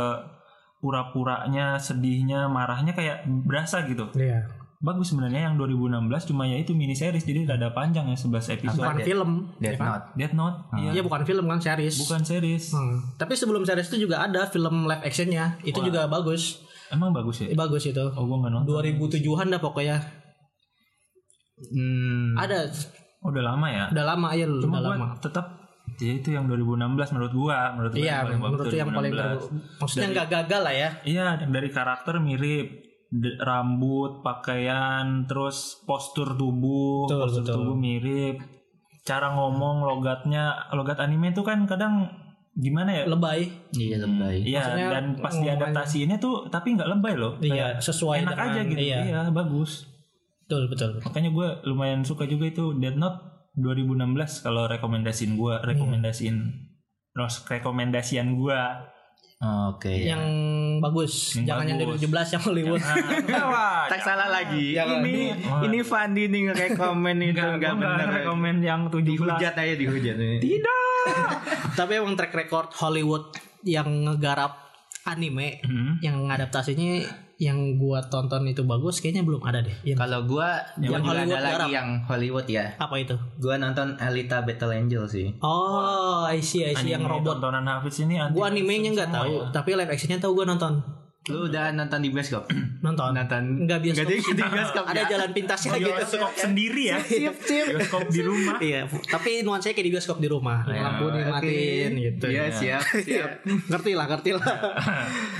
B: pura-puranya, sedihnya, marahnya kayak berasa gitu.
A: Iya.
B: Bagus sebenarnya yang 2016 cuma ya itu mini series jadi rada panjang ya 11 episode.
A: Bukan
C: Death-
A: film.
C: Death
A: ya kan?
C: Note.
B: Death Note iya
A: Iya, bukan film kan series.
B: bukan series.
A: Hmm. Tapi sebelum series itu juga ada film live actionnya. Itu juga bagus. Eh,
B: Emang bagus ya?
A: Bagus itu.
B: Oh, gua nggak nonton.
A: 2007-an dah pokoknya.
C: Hmm,
A: Ada
B: Udah lama ya?
A: udah lama ya lu,
B: Cuma
A: udah
B: gua
A: lama.
B: tetap ya itu yang 2016 menurut gua, menurut gua
A: Iya,
B: yang paling
A: menurut
B: bagus
A: tuh yang paling
B: 2016.
A: terbaru. Maksudnya nggak gagal lah ya.
B: Iya, dari karakter mirip D- rambut, pakaian, terus postur tubuh,
A: Betul,
B: postur
A: betul.
B: tubuh mirip. cara ngomong logatnya logat anime itu kan kadang gimana ya
A: lebay
D: Iya lebay.
B: Iya
A: Maksudnya
B: dan pas
A: ngomongnya-
B: diadaptasiinnya tuh tapi nggak lebay loh
A: iya
B: Kayak
A: sesuai
B: enak
A: dengan-
B: aja gitu
A: iya,
B: iya. bagus
A: betul betul betul.
B: makanya gue lumayan suka juga itu Dead Note 2016 kalau rekomendasiin gue
A: Iya.
B: rekomendasiin terus rekomendasian gue
D: Oke.
A: yang bagus
B: Yang
A: jangan yang dari
B: bagus.
A: 17 yang Hollywood
C: Ah, tak salah lagi.
B: Jangan.
C: ini
B: Wah.
C: ini Fandi nih ngerekomen itu
B: Enggak,
C: enggak
B: gua
C: benar.
B: nggak rekomen yang 17
C: Dihujat aja dihujat.
A: tapi emang track record Hollywood yang ngegarap anime
B: Hmm.
A: yang adaptasinya yang gua tonton itu bagus kayaknya belum ada deh yang
C: Kalau gua yang
A: Yang
C: ada
A: Hollywood
C: lagi
A: Arab.
C: yang Hollywood ya.
A: apa itu
C: Gua nonton Alita Battle Angel sih.
A: oh I see I see yang robot
B: tontonan Hafiz ini anti
A: gua animenya nggak tahu tapi live actionnya tahu gua nonton
C: Lu udah nonton di bioskop?
A: nonton
C: nonton
A: Nggak bioskop.
C: Nggak di, di bioskop.
A: ada
C: ya?
A: jalan pintasnya gitu
B: bioskop sendiri ya bioskop di rumah
A: iya tapi nuansanya kayak di bioskop di rumah lampu
C: Iya, Oke.
A: dimatiin gitu
C: Iya, siap, siap.
A: ngerti lah ngerti lah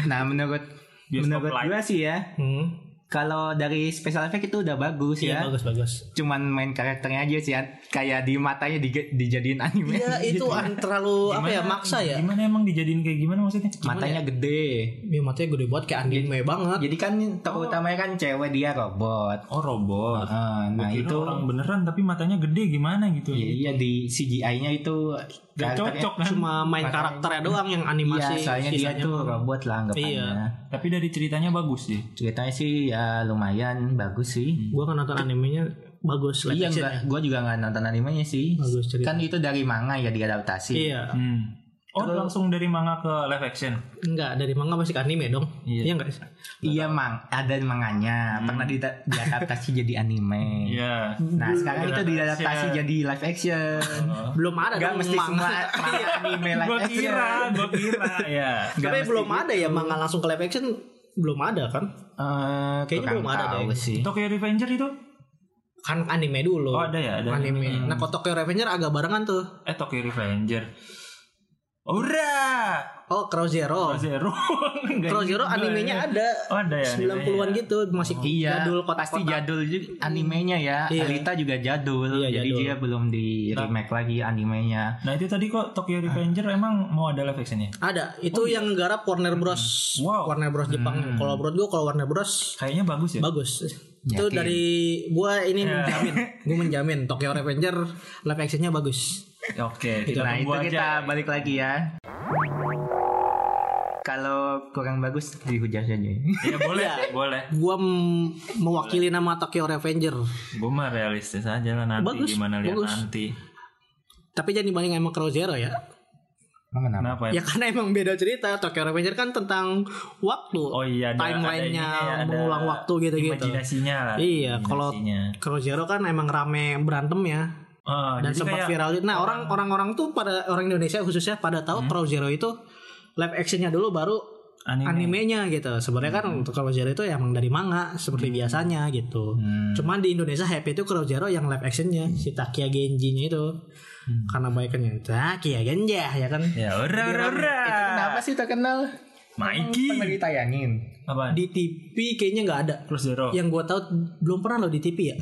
C: Nah, menurut
B: Bioskop
C: menurut
B: light.
C: gua sih ya,
A: hmm.
C: kalau dari special effect itu udah bagus
A: iya
C: ya.
A: bagus bagus
C: Cuman main karakternya aja sih ya. kayak di matanya di- dijadiin anime.
A: Iya itu an- terlalu apa ya maksa ya.
B: gimana emang dijadiin kayak gimana maksudnya
C: matanya gede.
A: Ya matanya gede banget kayak anime banget.
C: Jadi kan tokoh utamanya kan cewek dia robot.
B: oh robot
C: Ah, nah
B: Gua kira
C: itu
B: orang beneran tapi matanya gede gimana gitu
C: iya, iya, di CGI-nya itu
B: Gak
C: karakternya-
B: cocok kan
A: Cuma main karakternya doang yang
C: Iya,
A: animasi.
C: soalnya dia
A: sisanya
C: tuh
A: mah.
C: robot lah anggapannya.
A: Iya.
B: tapi dari ceritanya bagus sih
C: Ceritanya sih ya lumayan bagus sih.
A: Gua kan nonton animenya bagus live
C: Iya
A: action
C: enggak, gue juga nggak nonton animenya sih.
A: Bagus cerita.
C: Kan itu dari manga ya
A: ya.
C: diadaptasi.
A: Iya.
B: oh langsung dari manga ke live action
A: Enggak dari manga masih ke anime dong.
B: Iya.
A: Iya enggak?
C: Iya mang, ada manganya.
A: Hmm.
C: Pernah dita- diadaptasi jadi anime.
B: iya
C: Nah sekarang itu
B: Diadaptasi.
C: diadaptasi jadi live action.
B: Iya.
A: Belum ada
C: Enggak
A: dong
C: mesti
A: iya. manga.
C: semua manga anime live
B: gue
C: action.
B: kira gue kira ya
A: Tapi belum ada ya manga langsung ke live action belum ada kan?
C: Eh,
A: Kayaknya
C: kurang
A: belum ada
C: tahu
A: deh.
C: sih.
B: Tokyo Revenger itu
A: Kan anime dulu.
B: Oh, ada ya, ada.
A: Anime. Nah, kok Tokyo Revenger agak barengan tuh.
B: eh Tokyo Revenger Ora
A: Oh, Crow Zero.
B: Zero Enggak
A: Crow Zero
B: juga ya.
A: animenya ada.
B: Oh, ada ya
A: 90-an
B: animenya.
A: gitu masih
C: Iya,
A: jadul kotak
C: pasti jadul juga animenya ya.
A: Iya.
C: Alita juga jadul,
A: Iya,
C: jadi
A: jadul.
C: dia belum di remake lagi animenya.
B: Nah itu tadi kok Tokyo Revenger emang mau ada live actionnya?
A: Ada, itu yang garap Warner Bros.
B: Oh, iya. Hmm. Wow. Hmm.
A: Warner Bros Jepang. Kalau menurut gua kalau Warner Bros
B: Kayaknya bagus ya.
A: bagus. Itu dari gua ini
B: Iya.
A: menjamin, gua menjamin Tokyo Revenger live actionnya bagus.
B: Oke, kita
C: Nah itu
B: tunggu aja.
C: kita balik lagi ya. Kalau kurang bagus dihujat aja.
B: Ya boleh,
A: Iya.
B: boleh.
A: Gua m- mewakili nama Tokyo Revenger.
B: Gue mah realistis aja lah nanti
A: Bagus,
B: gimana lihat
A: bagus.
B: nanti.
A: Tapi jangan dibanding sama Crow Zero ya.
C: Emang kenapa?
B: Kenapa ya?
A: Ya karena emang beda cerita. Tokyo Revenger kan tentang waktu.
B: Oh iya, ada-
A: timelinenya
B: ada ininya ya, ada
A: mengulang waktu gitu-gitu.
B: Imajinasinya lah.
A: Iya, kalau
B: imajinasinya.
A: Crow Zero kan emang rame berantem ya.
B: Ah,
A: dan
B: jadi
A: sempat
B: kayak
A: viral. Nah orang orang-orang tuh pada orang Indonesia khususnya pada tahu
B: Hmm.
A: Crow Zero itu live actionnya dulu baru
B: anime. Hmm.
A: animenya gitu. Sebenarnya kan untuk Crow Zero itu emang dari manga seperti biasanya gitu.
B: Hmm.
A: Cuman di Indonesia happy itu Crow Zero yang live actionnya si Takia Genji-nya itu karena baikannya Takia Genji ya kan.
B: Hmm. Ya ora ora ora.
C: Kenapa sih terkenal?
B: Mikey.
C: Pernah ditayangin.
B: Apa?
A: Di TV kayaknya nggak ada.
B: Cross Zero.
A: Yang gue tahu belum pernah loh di TV ya.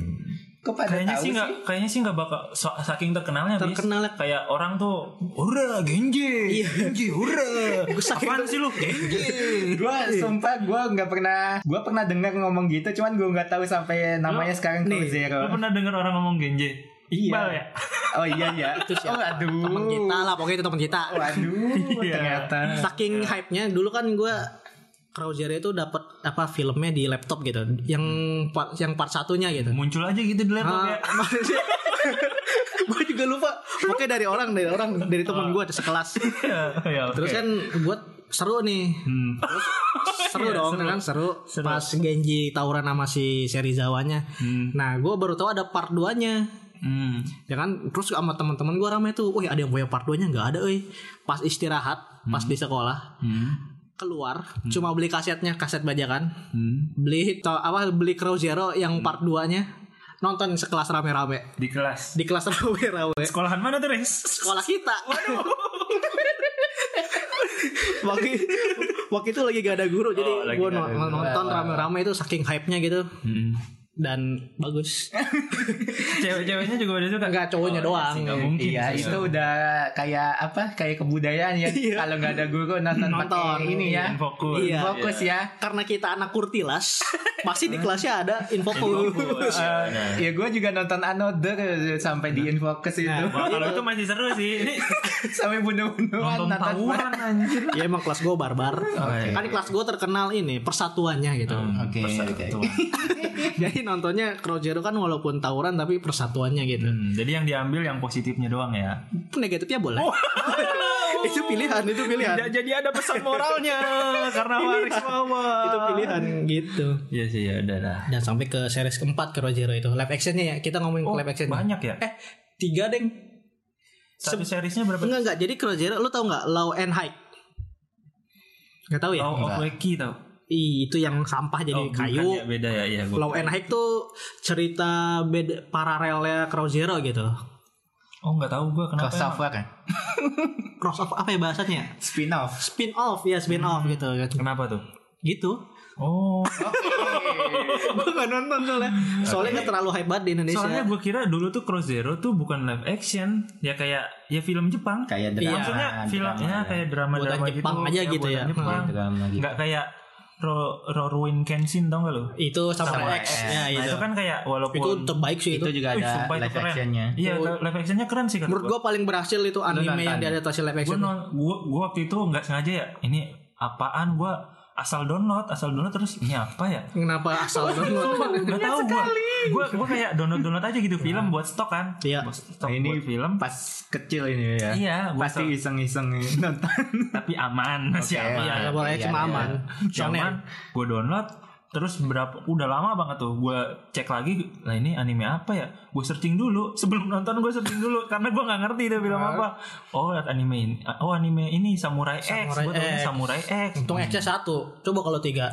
C: Kok pada
B: Kayaknya
C: tahu
B: sih nggak, kayaknya sih nggak bakal so- saking terkenalnya. Bis.
A: Terkenalnya.
B: kayak orang tuh, ora genje, genje, ora.
A: saking-
B: Apaan sih lu genje?
A: Gitu
C: Gua sumpah gua nggak pernah. Gua pernah dengar ngomong gitu, cuman gua nggak tahu sampai namanya sekarang Crow Zero.
B: Lu pernah dengar orang ngomong genje? Iqbal ya?
C: Oh iya iya. Oh aduh. Oh,
A: Teman ya. kita lah pokoknya itu teman kita.
C: Waduh, ternyata.
A: saking hype-nya dulu kan gue Crow Zero itu dapat apa filmnya di laptop gitu yang part, yang part satunya gitu
B: Muncul aja gitu di laptop ya.
A: gue juga lupa pokoknya dari orang dari orang dari teman gue sekelas
B: Iya, iya, oke. Hmm,
A: terus kan buat seru nih Terus seru dong kan seru. pas Genji tawuran sama si Serizawa-nya nah gue baru tahu ada part 2 nya
B: Hmm.
A: ya kan terus sama teman-teman gue ramai tuh wih ada yang punya part 2 nya nggak ada eh pas istirahat pas di sekolah
B: Hmm.
A: keluar cuma beli kasetnya kaset bajakan
B: Hmm.
A: beli to, apa beli Crow Zero yang part 2 nya nonton sekelas rame-rame
B: Di kelas.
A: di kelas rame-rame
B: Sekolahan mana tuh, Res?
A: sekolah kita waktu waktu itu lagi gak ada guru jadi
B: Oh, lagi
A: gue
B: nggak ada guru.
A: nonton rame-rame itu saking hype nya gitu dan bagus.
B: Cewek-ceweknya juga udah suka.
A: Enggak cowoknya doang.
B: Oh, sih, nggak mungkin.
C: Iya,
B: sih.
C: itu udah kayak apa? Kayak kebudayaan ya.
B: Iya.
C: Kalau nggak ada guru nonton,
A: Nonton.
C: pakai ini ya.
B: Dan fokus.
A: Iya.
C: Fokus ya.
A: Karena kita anak kurtilas, pasti di kelasnya ada infoku.
B: Fokus. Nah.
C: Ya gue juga nonton Another sampai di Infocus itu.
B: Wah, kalau itu masih seru sih. Ini
C: sampai bunuh-bunuhan
B: nonton tawuran anjir.
A: ya emang kelas gue barbar. Kan kelas gue terkenal ini persatuannya gitu.
C: Oke, oke.
A: Jadi nontonnya Crow Zero kan walaupun tawuran tapi persatuannya gitu.
B: Hmm, jadi yang diambil yang positifnya doang ya.
A: Negatifnya boleh. itu pilihan, itu pilihan.
B: jadi ada pesan moralnya karena waris bawah.
A: itu pilihan gitu.
B: Iya sih ya udah lah.
A: Dan sampai ke series keempat Crow Zero itu. Live actionnya ya, kita ngomongin
B: Oh,
A: live action.
B: banyak ya.
A: Eh, tiga deng.
B: Satu seriesnya berapa?
A: Enggak enggak. Jadi Crow Zero lu tau nggak Low and High? Gak tau ya?
B: Oh, of Weki tau.
A: Ih, itu yang sampah jadi
B: Oh, bukan
A: kayu.
B: ya, beda ya, iya. gua-
A: Low and High tuh cerita beda paralelnya Crow Zero gitu.
B: Oh, nggak tahu gua kenapa. emang.
C: Crossover kan?
A: Cross off apa ya bahasanya?
C: Spin off.
A: Spin off ya, spin off gitu.
B: Kenapa tuh?
A: Gitu.
B: Oh,
A: Gue gak nonton soalnya. Soalnya gak terlalu hype banget di Indonesia.
B: soalnya gue kira dulu tuh Cross Zero tuh bukan live action, ya kayak ya film Jepang.
D: Kayak
A: Iya,
D: drama.
B: Maksudnya filmnya
C: ya.
D: drama,
B: kayak drama-drama
A: Buatan
B: gitu.
A: Jepang aja gitu
B: buatan
A: ya.
B: Jepang.
D: Iya, drama gitu.
B: Nggak kayak Ro Roruin Kenshin tau gak lo?
A: itu Samurai
C: Samurai
A: X.
C: X.
A: Ya,
B: Nah,
A: itu.
B: itu kan kayak walaupun
A: itu terbaik sih itu.
C: Itu juga
B: Wih,
C: ada
B: sumpah itu
C: live
B: keren.
C: actionnya.
B: Iya, live actionnya keren sih kata
A: Menurut gue paling berhasil itu anime yang diadaptasi live
B: gue
A: action.
B: non gue gue waktu itu nggak sengaja ya ini apaan gue asal download asal download terus ini apa ya
A: Kenapa asal
B: Sumpah,
A: download?
B: nggak tahu gue gue gue kayak download download aja gitu film buat stok kan
A: Iya.
B: buat stok
C: Nah, Ini
B: buat film
C: Pas kecil ini ya.
B: iya gua
C: Pasti
B: stok.
C: iseng-iseng ya nonton.
B: tapi aman masih
C: Oke,
B: aman
A: Ya, nggak boleh
C: Iya,
A: cuma
C: iya.
A: aman.
B: cuman gue download terus berapa udah lama banget tuh gue cek lagi lah ini anime apa ya gue searching dulu sebelum nonton gue searching dulu karena gue nggak ngerti dia film apa oh anime ini oh anime ini samurai, X
A: Samurai
B: gue
A: X.
B: samurai X
A: Untung X-nya satu. Coba kalau tiga.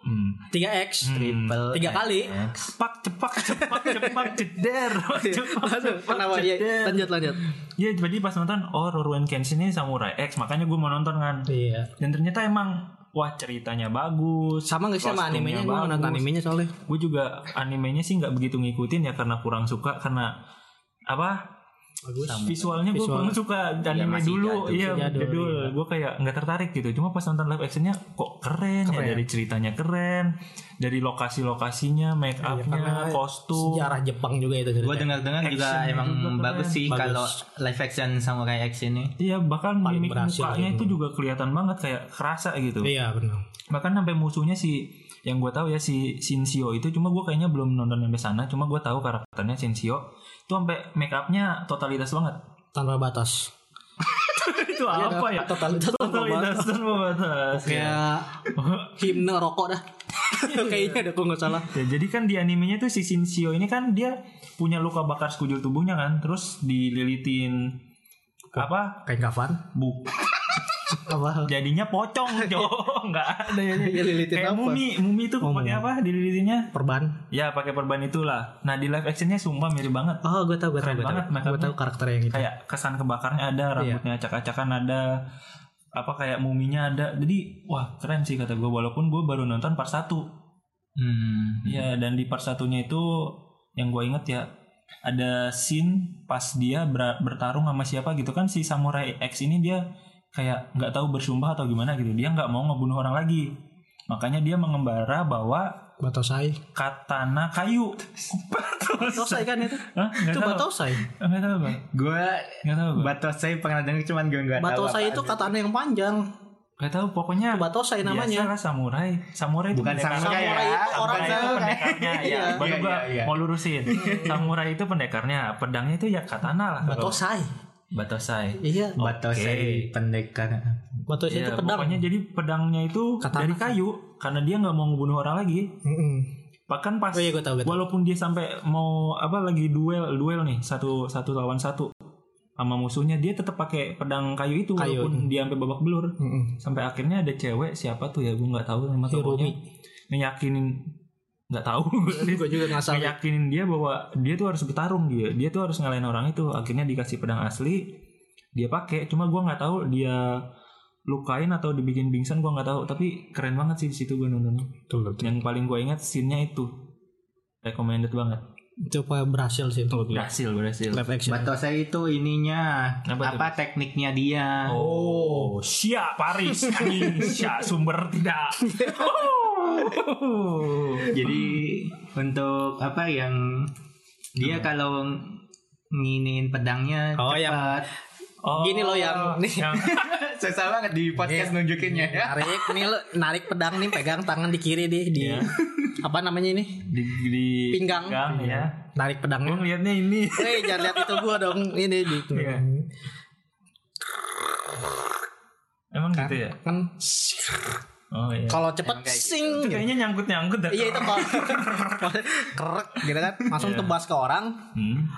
B: hmm.
A: Tiga X.
C: Triple
A: Tiga kali.
B: cepak cepak cepak cepak ceder cepak
A: Aduh, Kenapa? Ya, lanjut, lanjut.
B: ya jadi pas nonton oh Rurouni Kenshin ini samurai X makanya gue mau nonton kan
A: Iya.
B: dan ternyata emang wah ceritanya bagus
A: Sama gak sih sama
B: kostumnya
A: animenya? Gue
B: bagus.
A: nonton animenya soalnya.
B: gue juga animenya sih nggak begitu ngikutin ya karena kurang suka karena apa
A: Bagus.
B: visualnya gue
A: Visual.
B: kurang suka anime
D: masih
B: dulu
D: jadul,
B: iya
A: masih jadul,
B: jadul
A: iya.
B: gue kayak nggak tertarik gitu cuma pas nonton live actionnya kok keren, ya dari ceritanya keren dari lokasi lokasinya make upnya kostum
A: Iya, Sejarah Jepang juga itu.
C: Gue dengar-dengar juga
B: Action-nya
C: emang
B: juga keren.
C: bagus sih
A: Bagus.
C: kalau live action Samurai X ini.
B: Iya bahkan
A: Paling
B: mimik
A: berhasil
B: mukanya
A: itu.
B: itu juga kelihatan banget kayak kerasa gitu.
A: Iya benar.
B: Bahkan sampai musuhnya si yang gue tahu ya si Shinshio itu cuma gue kayaknya belum nonton sampai sana. Cuma gue tahu karakternya Shinshio itu sampai make upnya totalitas banget.
A: Tanpa batas.
B: itu apa ya?
A: Totalitas tanpa
B: Totalitas tanpa batas. ya.
A: Kayak himne rokok dah. Kayaknya ada kok nggak salah.
B: Ya, jadi kan di animenya tuh si Shinshio ini kan dia punya luka bakar sekujur tubuhnya kan, terus dililitin apa?
A: Kayak kafan.
B: Bu,
A: Apa?
B: jadinya pocong, Jo. Enggak ada ya.
A: Dia lilitin
B: Kayak
A: apa?
B: mumi, mumi itu pakai apa dililitinnya?
A: Perban.
B: Ya pakai perban itulah. Nah di live actionnya sumpah mirip banget.
A: Oh, gue tau, gue tau,
B: Keren
A: gue tau.
B: banget make
A: Gue
B: up-nya.
A: tau karakter yang itu.
B: Kayak kesan kebakarnya ada, rambutnya acak-acakan ada, apa kayak muminya ada. Jadi wah keren sih kata gue. Walaupun gue baru nonton part 1
C: Hmm.
B: Ya dan di part satunya itu yang gue inget ya ada scene pas dia ber- bertarung sama siapa gitu kan si samurai X ini dia kayak nggak tahu bersumpah atau gimana gitu. Dia nggak mau ngebunuh orang lagi. Makanya dia mengembara bawa
A: Batosai.
B: katana kayu.
A: Batosai kan itu?
B: Hah? Nggak
A: Itu
B: tahu.
A: Batosai.
B: Nggak tahu bang.
C: Gue
B: Nggak tahu bang.
C: Batosai pernah denger cuman gue nggak tahu.
A: Batosai
C: apa.
A: itu katanya yang panjang.
B: Nggak tahu. Pokoknya
A: Batosai
B: biasa
A: namanya.
B: lah samurai. Samurai itu
C: bukan
B: pendekar.
C: samurai ya.
A: Samurai itu orang
B: Samurai itu
A: samurai.
B: pendekarnya ya.
A: Iya.
B: Baru
C: Iya,
B: gua
C: iya, iya.
B: mau lurusin. samurai itu pendekarnya. Pedangnya itu ya katana lah. kalau-
A: Batosai.
B: Batosai.
A: Iya.
C: Batosai pendekar.
A: Batosai itu
B: Iya,
A: pedang.
B: Pokoknya jadi pedangnya itu
A: Katana.
B: dari kayu karena dia nggak mau ngebunuh orang lagi.
A: Mm-mm.
B: Bahkan pas
A: Oh iya, gue tau, gue tau.
B: walaupun dia sampai mau apa lagi duel duel nih satu satu lawan satu sama musuhnya dia tetap pakai pedang kayu itu
A: Kayu.
B: walaupun dia sampai babak belur.
A: Mm-mm.
B: sampai akhirnya ada cewek siapa tuh ya gue nggak tahu nama tokohnya ngeyakinin nggak tahu
A: Gue juga nggak salah.
B: ngeyakinin dia bahwa dia tuh harus bertarung dia dia tuh harus ngalahin orang itu akhirnya dikasih pedang asli dia pakai cuma gue nggak tahu dia lukain atau dibikin bingsan gue nggak tahu tapi keren banget sih di situ gue nonton yang paling gue ingat scene-nya itu recommended banget.
A: Coba berhasil sih menurut gue.
B: Berhasil, berhasil.
A: Live action.
C: Batosnya itu ininya
B: Apa tuh?
C: apa, tekniknya dia.
B: Oh, Sia Paris, anjing Sia sumber tidak. Oh.
C: Jadi untuk apa yang dia kalau nginin pedangnya
A: Oh, yang-
C: cepat.
B: Oh,
A: Gini loh yang-
B: yang
C: Susah banget di podcast nunjukinnya ya.
A: Narik nih lo narik pedang nih pegang tangan di kiri deh di
B: Iya.
A: apa namanya ini?
B: di, di
A: Pinggang. Iya.
B: ya.
A: Narik
B: Gue
A: pedangnya.
B: ngeliatnya ini.
A: Eh jangan lihat itu gua dong. Ini gitu.
B: Iya. Emang gitu ya?
A: Kan
B: Oh iya.
A: kalau cepet sing gitu.
B: Itu kayaknya nyangkut-nyangkut dah.
A: Iya itu kalau kerek gitu kan
B: Iya.
A: langsung tebas ke orang
B: Hmm.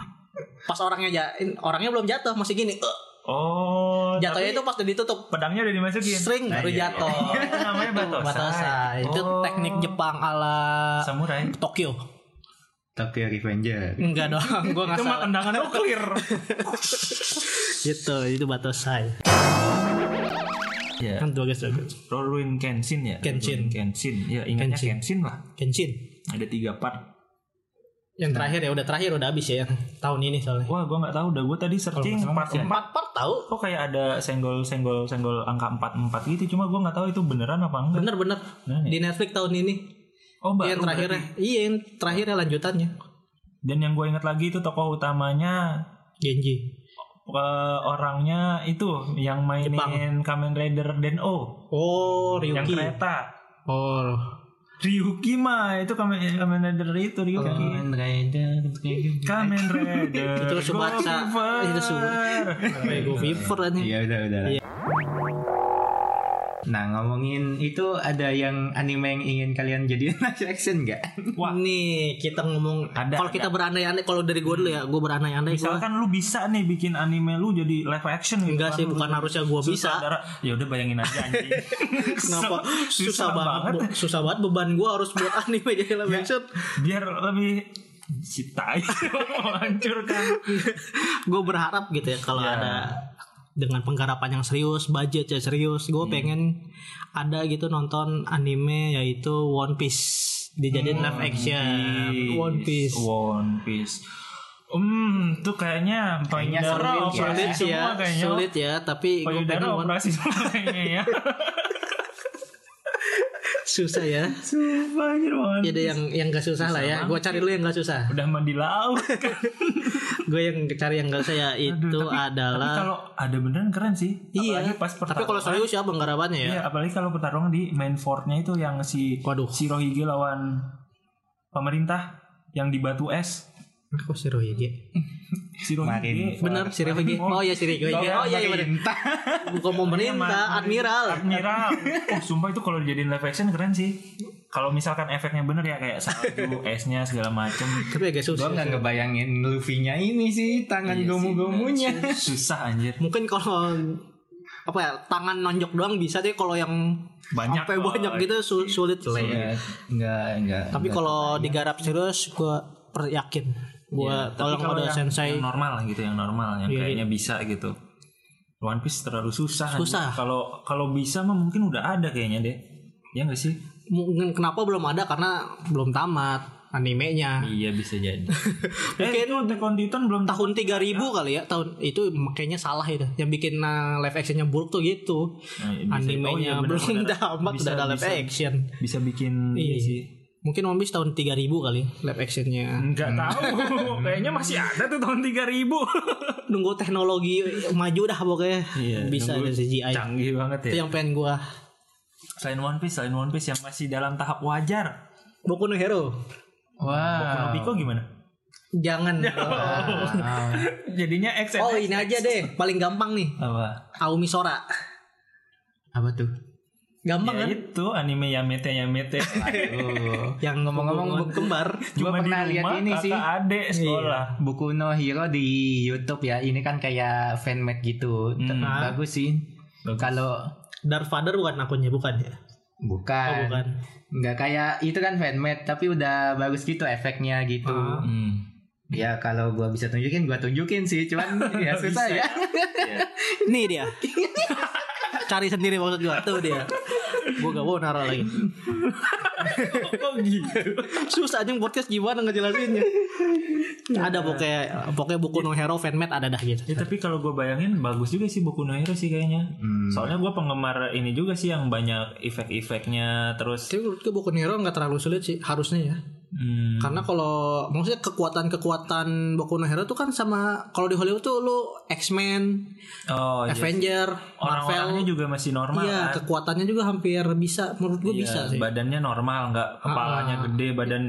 A: pas orangnya ja- orangnya belum jatuh masih gini Eh,
B: Oh,
A: jatuhnya itu pas udah ditutup
B: pedangnya udah dimasukin.
A: sering
B: Nah,
A: baru
B: iya, iya.
A: jatuh
B: Itu namanya batosai.
A: Batosai. itu
B: Oh.
A: teknik Jepang ala
B: Samurai.
A: Tokyo
C: Tokyo Revenger.
A: enggak dong gua nggak
B: Itu mah
A: salah
B: tendangan nuklir.
A: gitu itu batosai
B: Iya.
A: kan dua guys dua guys.
B: Rurouni Kenshin ya.
A: Kenshin.
B: Rurouni Kenshin. Ya, ingatnya
A: Kenshin.
B: Kenshin. lah.
A: Kenshin
B: Ada tiga part.
A: yang
B: Nah.
A: terakhir ya udah terakhir udah habis ya yang tahun ini soalnya
B: Wah, gua nggak tahu dah. Gua tadi searching part ya.
A: empat part tahu
B: Kok kayak ada senggol senggol senggol angka 44 gitu. Cuma gua nggak tahu itu beneran apa enggak.
A: bener bener
B: Nah,
A: di Netflix tahun ini
B: Oh,
A: yang
B: baru
A: terakhirnya
B: berarti.
A: iya yang terakhirnya lanjutannya
B: Dan yang gue ingat lagi itu tokoh utamanya
A: Genji
B: eh, orangnya itu yang mainin Kamen Rider dan O
A: oh
B: yang
A: Ryuki
B: kereta.
A: oh
B: Ryuki mah itu Kamen, Kamen Rider itu Ryuki.
C: Kamen Rider, Kamen Rider.
B: Kamen Rider.
A: Oh. Itu Tsubasa.
B: Go
A: Itu Tsubasa. Rego Fever aja
C: Iya udah udah. lah. Nah ngomongin itu ada yang anime yang ingin kalian jadi live action nggak?
B: Wah.
A: nih kita ngomong
B: Ada,
A: kalau kita berandai-andai kalau dari gue dulu ya gue berandai-andai gue
B: Misalkan lu bisa nih bikin anime lu jadi live action gitu.
A: enggak
B: kan,
A: sih
B: lu
A: bukan
B: jadi
A: harusnya gue bisa
B: sutradara. Ya udah bayangin aja anjing.
A: Kenapa susah, banget, Bu. susah banget beban gue harus buat anime jadi live
B: Iya.
A: action.
B: Biar lebih cita menghancurkan.
A: Gue berharap gitu ya kalau
B: Ya.
A: ada dengan penggarapan yang serius, budget yang serius, gue
B: Hmm.
A: pengen ada gitu nonton anime yaitu One Piece dijadiin live action. One Piece.
B: Hmm. One Piece. Hmm, tuh kayaknya
C: Kayaknya
B: payudara
C: sulit ya.
B: operasi
A: Sulit
B: semua
A: ya,
B: kayaknya. Oh, iya.
A: sulit ya, tapi gue
B: Payudara
A: pengen One-
B: operasi semua kayaknya ya.
A: susah ya.
B: Sumpah anjir One
A: Ya ada yang yang gak susah, lah ya. Gue cari lu yang gak susah.
B: Iya. udah mandi laut kan.
A: Gue yang cari yang gak susah ya itu
B: Aduh, tapi-
A: adalah
B: tapi kalau ada beneran keren sih apalagi
A: Iya.
B: pas
A: tapi kalau
B: pertarungan.
A: serius ya penggarapannya ya.
B: Iya, apalagi kalau pertarungan di main fortnya itu yang si
A: Waduh.
B: si Rohige lawan pemerintah yang di batu es
A: Aku si Rohige.
B: si Rohige
A: Benar si Rohige. Oh ya si Rohige. Oh iya iya benar.
C: Entah.
A: Bukan
B: Iya,
A: pemerintah, admiral.
B: gitu. Admiral. Oh, sumpah itu kalau dijadiin live action keren sih. Kalau misalkan efeknya bener ya kayak salju, esnya segala macem
A: Tapi agak
C: Gue
A: susah.
C: nggak ngebayangin Luffy-nya ini sih tangan gomu-gomunya.
B: Iya susah anjir.
A: Mungkin kalau apa ya tangan nonjok doang bisa deh kalau yang
B: Banyak
A: sampai
B: loh.
A: banyak gitu su- sulit
C: Iya,
A: lah ya.
C: Enggak enggak.
A: Tapi kalau digarap serius gue per- yakin gue
B: Ya, Iya, Tapi
A: tolong ada
B: yang,
A: sensei Iya,
B: yang normal gitu, yang normal, yang kayaknya bisa gitu. One Piece terlalu susah.
A: Susah.
B: anjir. Kalau kalau bisa mah mungkin udah ada kayaknya deh. Ya gak sih?
A: mungkin kenapa belum ada karena belum tamat animenya
B: Iya bisa jadi. eh, itu The Conditon belum tahu.
A: tahun 3000 kali ya tahun itu makanya salah itu yang bikin nah, live actionnya buruk tuh gitu
B: Iya, Oh,
A: animenya belum tamat udah ada live action
B: Bisa bikin iya. sih. Hmm.
A: mungkin One Piece tahun 3000 kali live actionnya
B: Enggak tahu. kayaknya masih ada tuh tahun 3000.
A: nunggu teknologi maju dah pokoknya
B: Iya,
A: bisa ada
B: nunggu
A: CGI
B: Canggih banget
A: itu yang
B: ya.
A: pengen gua
B: Selain One Piece, selain One Piece yang masih dalam tahap wajar.
A: Boku no Hero
B: Kono
C: Wah.
B: Pico gimana?
A: jangan
B: Oh, Jadinya X ya?
A: oh ini aja deh paling gampang nih
B: apa?
A: Aomi Sora
C: Apa tuh?
A: gampang
B: Ya
A: kan
B: itu anime Yamete Yamete.
C: Aduh.
A: yang ngomong-ngomong kembar
C: Gua pernah lihat ini sih. Iya.
B: kakak adek sekolah.
C: Buku no Hero di YouTube ya. Ini kan kayak fanmade gitu. T-
B: Hmm.
C: Bagus sih.
B: Bagus.
C: Kalau
A: Darth Vader bukan akunnya bukan ya
B: Eh,
A: oh
C: bukan.
A: bukan
C: nggak kayak itu kan fanmade tapi udah bagus gitu efeknya gitu
A: Ah.
C: ya kalau gua bisa tunjukin gua tunjukin sih cuman ya susah ya
A: Nih dia. Cari sendiri maksud gua. Tuh dia. Gua gak mau naro lagi.
B: Kok gitu?
A: Susah anjing podcast gimana ngejelasinnya. ada pokoknya pokoknya buku No Hero fanmade ada dah gitu.
B: Ya, tapi kalau gue bayangin bagus juga sih buku No Hero sih kayaknya.
C: Hmm.
B: Soalnya gue penggemar ini juga sih yang banyak efek-efeknya terus.
A: Tapi menurut gue buku No Hero nggak terlalu sulit sih harusnya ya.
B: Hmm,
C: Kan
A: Karena kalau maksudnya kekuatan-kekuatan Boku no Hero tuh kan sama kalau di Hollywood tuh lu X-Men,
B: oh iya.
A: Avenger,
B: Orang-orangnya
A: Marvel.
B: juga masih normal
A: Iya,
B: kan?
A: kekuatannya juga hampir bisa menurut gue bisa
B: Iya,
A: sih. Ah,
B: Badannya normal nggak kepalanya gede, badan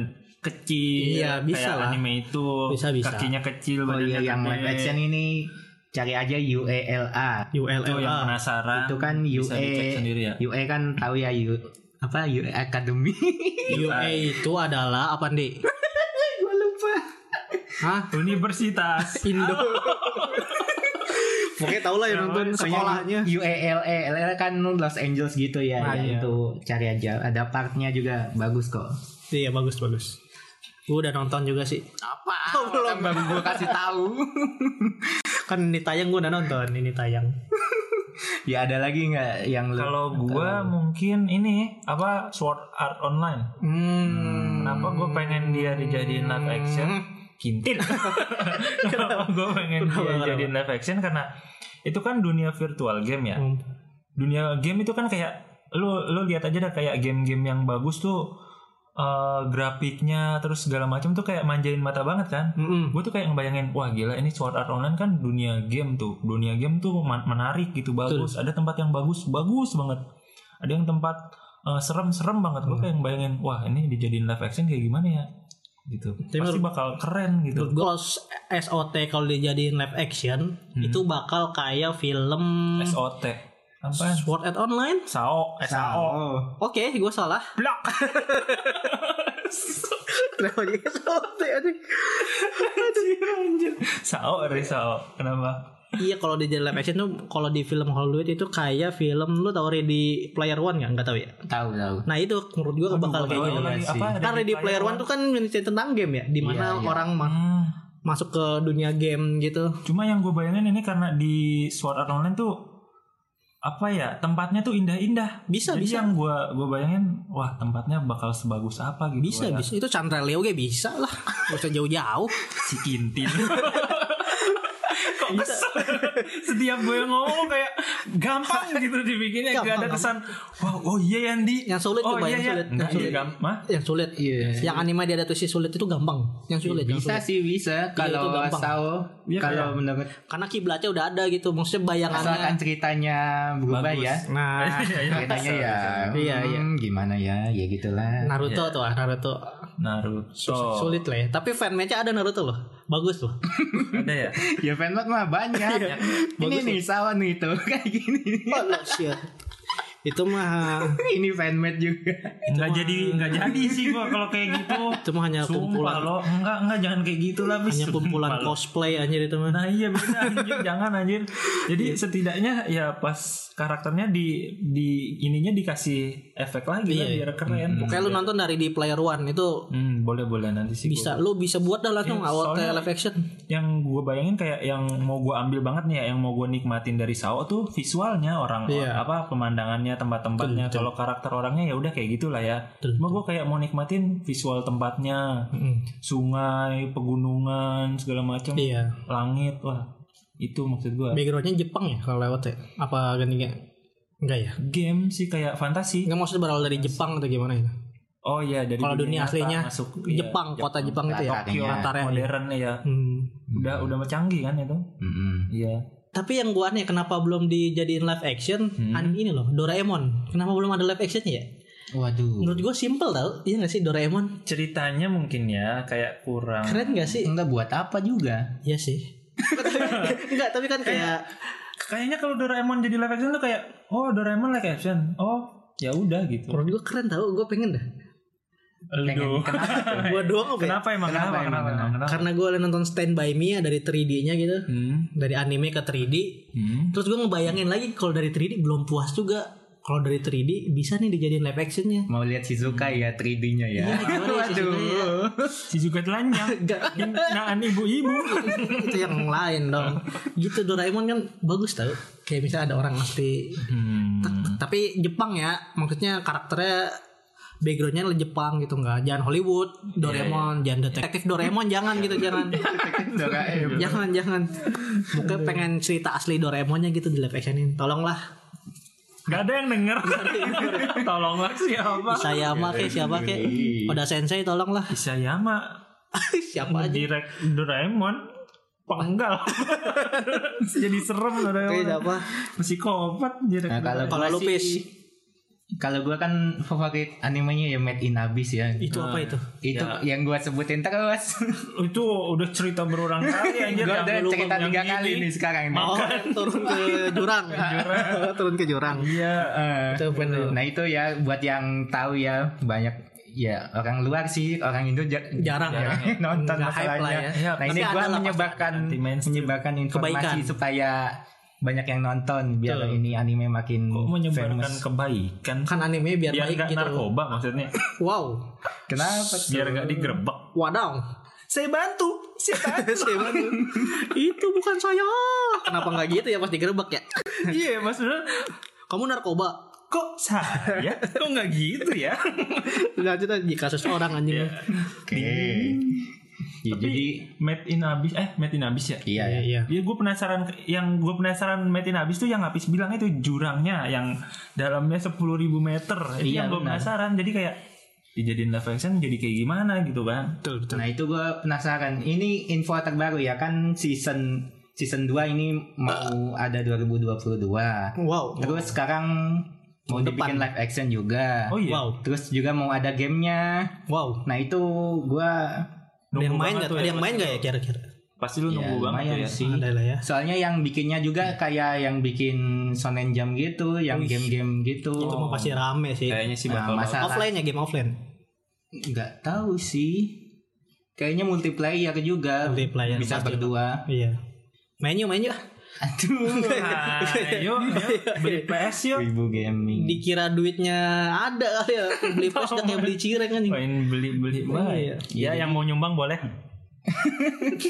B: kecil.
A: Iya, bisa
B: kayak
A: lah.
B: anime itu.
A: Bisa, bisa.
B: Kakinya kecil,
C: Oh
B: badannya
C: iya yang
B: gede.
C: live action ini cari aja UELA.
B: Itu yang
A: ULLA.
B: penasaran.
C: Itu kan
B: bisa dicek
C: UE
B: sendiri ya.
C: UE kan tahu ya U apa UE Academy.
A: UA Iya, itu adalah apa, Dik?
C: Gua lupa.
A: Hah?
B: Universitas.
A: Indo. Pokoknya tau lah yang nonton sekolahnya.
C: UELA LA kan Los Angeles gitu ya.
A: Nah, iya.
C: ya, Itu cari aja. Ada partnya juga bagus kok.
A: Iya, bagus bagus. Gue udah nonton juga sih.
C: Apa?
A: Oh, belum.
C: Baru gua kasih tahu.
A: Kan ini tayang gue udah nonton, ini tayang.
C: ya ada lagi nggak yang lu-
B: Kalau gua mungkin ini apa Sword Art Online.
A: Hmm.
B: Kenapa gua pengen dia dijadiin live action? Kintil. Kenapa gua pengen
A: Kenapa,
B: dia
A: kenapa?
B: jadiin live action karena itu kan dunia virtual game ya.
A: Hmm.
B: Dunia game itu kan kayak lu lu lihat aja dah kayak game-game yang bagus tuh eh, grafiknya terus segala macam tuh kayak manjain mata banget kan.
A: Mm-mm.
B: Gue tuh kayak ngebayangin, wah gila ini Sword Art Online kan dunia game tuh. Dunia game tuh man- menarik gitu, bagus. Ada tempat yang bagus, bagus banget. Ada yang tempat eh, serem-serem banget. Gue kayak ngebayangin, wah ini dijadiin live action kayak gimana ya? Gitu.
A: Tapi
B: Pasti bakal keren
A: Menurut
B: gitu.
A: gue SOT kalau dijadiin live action
B: Hmm.
A: itu bakal kayak film
B: SOT. Apa?
A: Sword Art Online.
B: SAO, eh, SAO.
C: Oh.
A: Oke, gue salah.
B: Blok.
A: Kenapa jadi SOT anjing?
B: SAO, dari SAO. Kenapa?
A: Iya, kalau dijadiin live action tuh kalau di film Hollywood itu kayak film lu tau Ready Player One nggak? Nggak tahu ya.
C: Tahu tahu.
A: Nah itu menurut gue bakal kayak
B: Tahu
A: gitu.
B: lagi
C: sih.
B: apa?
A: Karena Ready Player One tuh kan menceritakan tentang game ya, dimana
C: Iya, iya.
A: orang ma-
B: Hmm.
A: masuk ke dunia game gitu.
B: Cuma yang gue bayangin ini karena di Sword Art Online tuh apa ya tempatnya tuh indah-indah.
A: Bisa,
B: Jadi
A: bisa.
B: yang gue gue bayangin, wah tempatnya bakal sebagus apa gitu.
A: Bisa,
B: Wah,
A: bisa. Itu Chandra Leo gue bisa lah. Gak usah jauh-jauh.
B: Si Kintin. Kok kesel? Setiap gue ngomong kayak gampang gitu dibikinnya gak ada
A: Gampang,
B: kesan. Wah, oh iya Yandi.
A: Yang sulit
B: oh,
A: coba,
B: iya,
A: yang
B: iya.
A: sulit.
B: Enggak,
A: Yang
B: iya,
A: sulit.
B: gampang. Mah?
A: Yang sulit.
C: Iya.
A: Yang anime diadaptasi sulit itu gampang. Yang sulit. yang
C: Bisa
A: sulit.
C: sih bisa
A: Iya, itu
C: kalau
A: gampang.
C: Sao
B: Iya,
C: kalau menurut
A: Karena kiblatnya udah ada gitu. Maksudnya
C: asalkan
A: bayangannya.
C: ceritanya berubah
B: Bagus.
C: ya.
A: Nah,
B: Iya, iya.
C: Ceritanya ya.
A: Iya, iya.
C: hmm, gimana ya? Ya gitulah.
A: Naruto tuh ah, Naruto.
B: Naruto.
A: Sulit lah ya. Tapi fanmate-nya ada Naruto loh. Bagus loh.
B: Ada ya?
C: ya fanmade mah banyak.
A: Iya.
C: ini nih sawan nih tuh kayak gini.
A: Oh, no, shit. Itu mah
C: ini fanmade juga.
B: Enggak jadi enggak jadi sih gua kalau kayak gitu.
A: itu mah hanya
B: Sumpah
A: kumpulan
B: lo, enggak enggak jangan kayak gitu lah bis.
A: hanya kumpulan
B: Sumpah lo.
A: cosplay anjir itu mah.
B: Nah iya beda anjir, jangan anjir. Jadi
A: Iya.
B: setidaknya ya pas karakternya di di ininya dikasih efek lagi lah
A: Iya,
B: biar keren.
A: Pokoknya lu nonton dari di Player One itu
B: Hmm, boleh boleh nanti sih.
A: bisa lu bisa buat dah langsung
B: Iya,
A: awal
B: soalnya-
A: kayak live action.
B: Yang gue bayangin kayak yang mau gue ambil banget nih ya, yang mau gue nikmatin dari Sao tuh visualnya orang
A: Iya.
B: apa pemandangannya tempat-tempatnya. Kalau karakter orangnya ya udah kayak gitulah ya.
A: Betul,
B: Cuma gue kayak mau nikmatin visual tempatnya,
A: Mm-mm.
B: sungai, pegunungan segala macam.
A: Iya.
B: langit wah itu maksud gua
A: Backgroundnya Jepang ya kalau lewat ya. Apa gantinya? Enggak ya.
B: game sih kayak fantasi
A: Enggak maksudnya berawal dari Jepang atau gimana ya?
B: oh iya dari
A: Kalau dunia
B: nyata
A: aslinya
B: masuk iya,
A: Jepang, kota Jepang itu ya.
C: Tokyo,
A: antara yang-
B: modern ya
A: Hmm.
B: udah udah canggih kan itu
C: Mm-mm.
B: iya
A: Tapi yang gua aneh kenapa belum dijadiin live action?
B: Hmm.
A: An ini loh, Doraemon. Kenapa belum ada live actionnya ya?
C: Waduh.
A: Menurut gua simple tau. Iya gak sih Doraemon?
B: ceritanya mungkin ya kayak kurang
A: Keren gak sih?
C: Enggak buat apa juga.
A: Iya sih. Enggak, tapi kan kayak
B: kayaknya kalau Doraemon jadi live action tuh kayak oh Doraemon live action oh ya udah gitu
A: menurut gua keren tau. Gua pengen dah.
B: Aduh.
A: Gua doang apa ya?
B: kenapa emang kenapa
C: emang,
B: kenapa emang kenapa
A: Karena gua udah nonton Stand By Me ya dari 3D-nya gitu.
B: hmm.
A: Dari anime ke 3D.
B: Hmm.
A: Terus gua ngebayangin lagi kalau dari 3D belum puas juga. Kalau dari 3D bisa nih dijadiin live actionnya.
C: Mau lihat Shizuka ya 3D-nya ya.
A: Iya, gimana ya Shizuka ya?
B: si juga telanjang
A: Enggak.
B: naan ibu-ibu
A: itu yang lain dong gitu Doraemon kan bagus tau kayak misalnya ada orang mesti
B: hmm.
A: tapi Jepang ya maksudnya karakternya backgroundnya Jepang gitu enggak jangan Hollywood Doraemon jangan detektif Doraemon jangan gitu jangan
C: Doraemon.
A: jangan jangan mungkin pengen cerita asli Doraemonnya gitu di live actionin tolonglah
B: Gak ada yang denger Tolonglah siapa
A: saya mah kek siapa kek Oda Sensei tolonglah
B: Isayama
A: siapa aja
B: Direk Doraemon Penggal Jadi
A: Oke,
B: serem Doraemon
A: siapa
B: Psikopat Direk
C: Nah, kalau
A: kalau
C: Gua
A: lupis
C: sih- Kalau gua kan favorit animenya ya Made in Abyss ya.
A: itu apa itu
C: Itu yang gua sebutin terus.
B: Doraemon. Itu udah cerita berulang
A: Iya,
B: kali anjir
C: gua
B: yang
C: ada
B: lu
C: cerita
B: yang
C: tiga
B: ini. Iya.
C: kali nih sekarang. nih.
A: oh turun ke jurang turun ke jurang
C: Iya. eh.
A: Itu bener.
C: Nah itu ya buat yang tahu ya banyak ya orang luar sih orang Indo ja-
A: Jarang. ya.
C: nonton
A: Nggak hype lah
C: masalahnya.
B: ya.
C: Nah
A: Tapi
C: ini
A: ada
C: gua
A: lah pasti.
C: menyebarkan
B: Anti mainstream.
C: menyebarkan informasi
A: Kebaikan.
C: supaya banyak yang nonton biar
A: Betul.
C: ini anime makin
B: Kok menyebarkan
C: famous.
B: kebaikan
A: kan anime biar
B: Biar
A: baik
B: gak
A: gitu
B: narkoba maksudnya
A: wow
C: Kenapa?
B: Biar gak digerebek
A: Wadaw. Saya bantu. Saya bantu. Itu bukan saya. Kenapa nggak gitu ya pas digerebek ya?
B: Iya maksudnya
A: Kamu narkoba.
B: Kok
C: Iya,
B: saya? Kok gak gitu ya?
A: Lanjut aja di kasus orang
B: Iya.
A: anjing.
C: Oke. Ya, jadi
B: Made in Abyss Eh Made in Abyss ya?
C: iya ya.
A: iya.
B: Ya gue penasaran yang gue penasaran metin habis tuh yang habis bilang itu jurangnya yang dalamnya 10.000 meter. Itu
C: Iya,
B: yang gue
C: benar.
B: penasaran. Jadi kayak dijadiin live action jadi kayak gimana gitu kan.
A: Betul betul.
C: Nah itu gue penasaran. Ini info terbaru ya kan season season 2 ini mau
A: Ah.
C: ada 2022.
A: Wow.
C: Terus sekarang
A: Oh.
C: mau
A: Tahun
C: dibikin
A: depan.
C: live action juga.
B: Oh iya.
A: Wow.
C: Terus juga mau ada gamenya.
A: Wow.
C: Nah itu gue
A: Ada yang
B: Nunggu
A: main
B: banget
A: nggak?
B: tuh
A: Ada
B: ya,
A: yang main nggak ya Iya, kira-kira?
B: Pasti lu
C: Ya,
B: nunggu banget
C: lumayan
B: tuh ya.
C: sih.
A: Ada lah ya.
C: soalnya yang bikinnya juga
A: Hmm.
C: kayak yang bikin Sonen Jam gitu, yang game-game gitu.
A: Itu mah pasti rame sih.
B: Kayaknya sih bakal
C: Nah, masa-
A: Offline ya game offline.
C: Nggak tahu sih. Kayaknya multiplayer juga.
A: Multiplayer,
C: bisa
A: pasti.
C: berdua.
A: Iya. Menu menu
B: Hmm.
C: Aduh.
B: Nah,
A: Iya.
B: yuk, yuk, beli PS yuk.
C: Ibu gaming.
A: dikira duitnya ada kali ya beli pos udah kayak beli cireng kan
B: Main beli beli
A: Wah,
B: Iya,
A: iya.
B: ya, yang mau nyumbang boleh.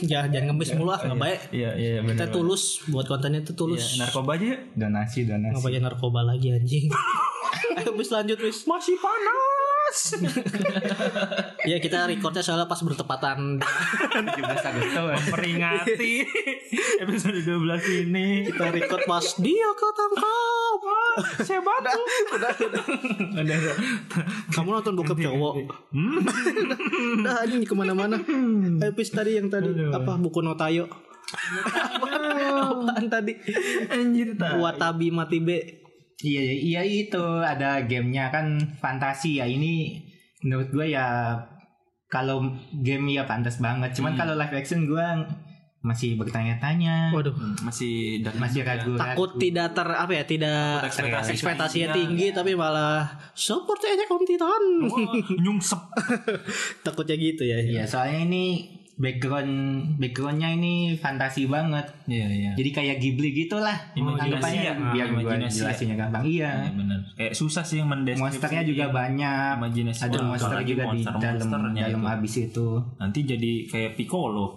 A: jangan jangan ngemis mulu ah nggak baik
B: Iya iya
A: kita
B: benar.
A: tulus buat kontennya itu tulus
B: narkoba aja yuk.
C: Donasi, donasi.
A: Ngapain narkoba lagi anjing Ayo bis lanjut bis Masih panas Ya kita recordnya soalnya pas bertepatan
C: 17 Agustus.
B: Memperingati episode 12 ini.
A: Kita record pas dia ketangkap
B: Saya bantu. Udah, udah.
A: Kamu nonton bokep cowok
B: Hmm?
A: Udah anjing kemana-mana Ayo bis tadi yang tadi Apa buku notayo Apaan tadi
B: Anjir tak.
A: Watabi Matibe
C: Iya, iya itu ada gamenya kan fantasi ya ini menurut gue ya kalau game ya pantas banget.
B: Hmm.
C: Cuman kalau live action gue masih bertanya-tanya,
A: Waduh
B: Masih dan
C: masih ragu.
A: Takut tidak ter apa ya tidak
B: ekspektasi
A: ekspektasinya tinggi tapi malah seperti Attack on Titan.
B: Oh, nyungsep.
A: Takutnya gitu ya.
C: Iya, soalnya ini background backgroundnya ini fantasi banget.
B: Iya iya.
C: Jadi kayak Ghibli gitulah.
B: Imajinasi ya.
C: Anggapannya biar gue
B: Imajinasi ya. Hmm.
C: jelasinnya gampang. Iya.
B: Benar. Kayak susah sih yang mendeskripsikan.
C: Monsternya juga banyak.
B: Imajinasi. ya.
C: Ada
B: Wah,
C: monster
B: apalagi
C: juga di dalam
B: monster-monsternya
C: dalam
B: itu.
C: abis itu.
B: Nanti jadi kayak Piccolo.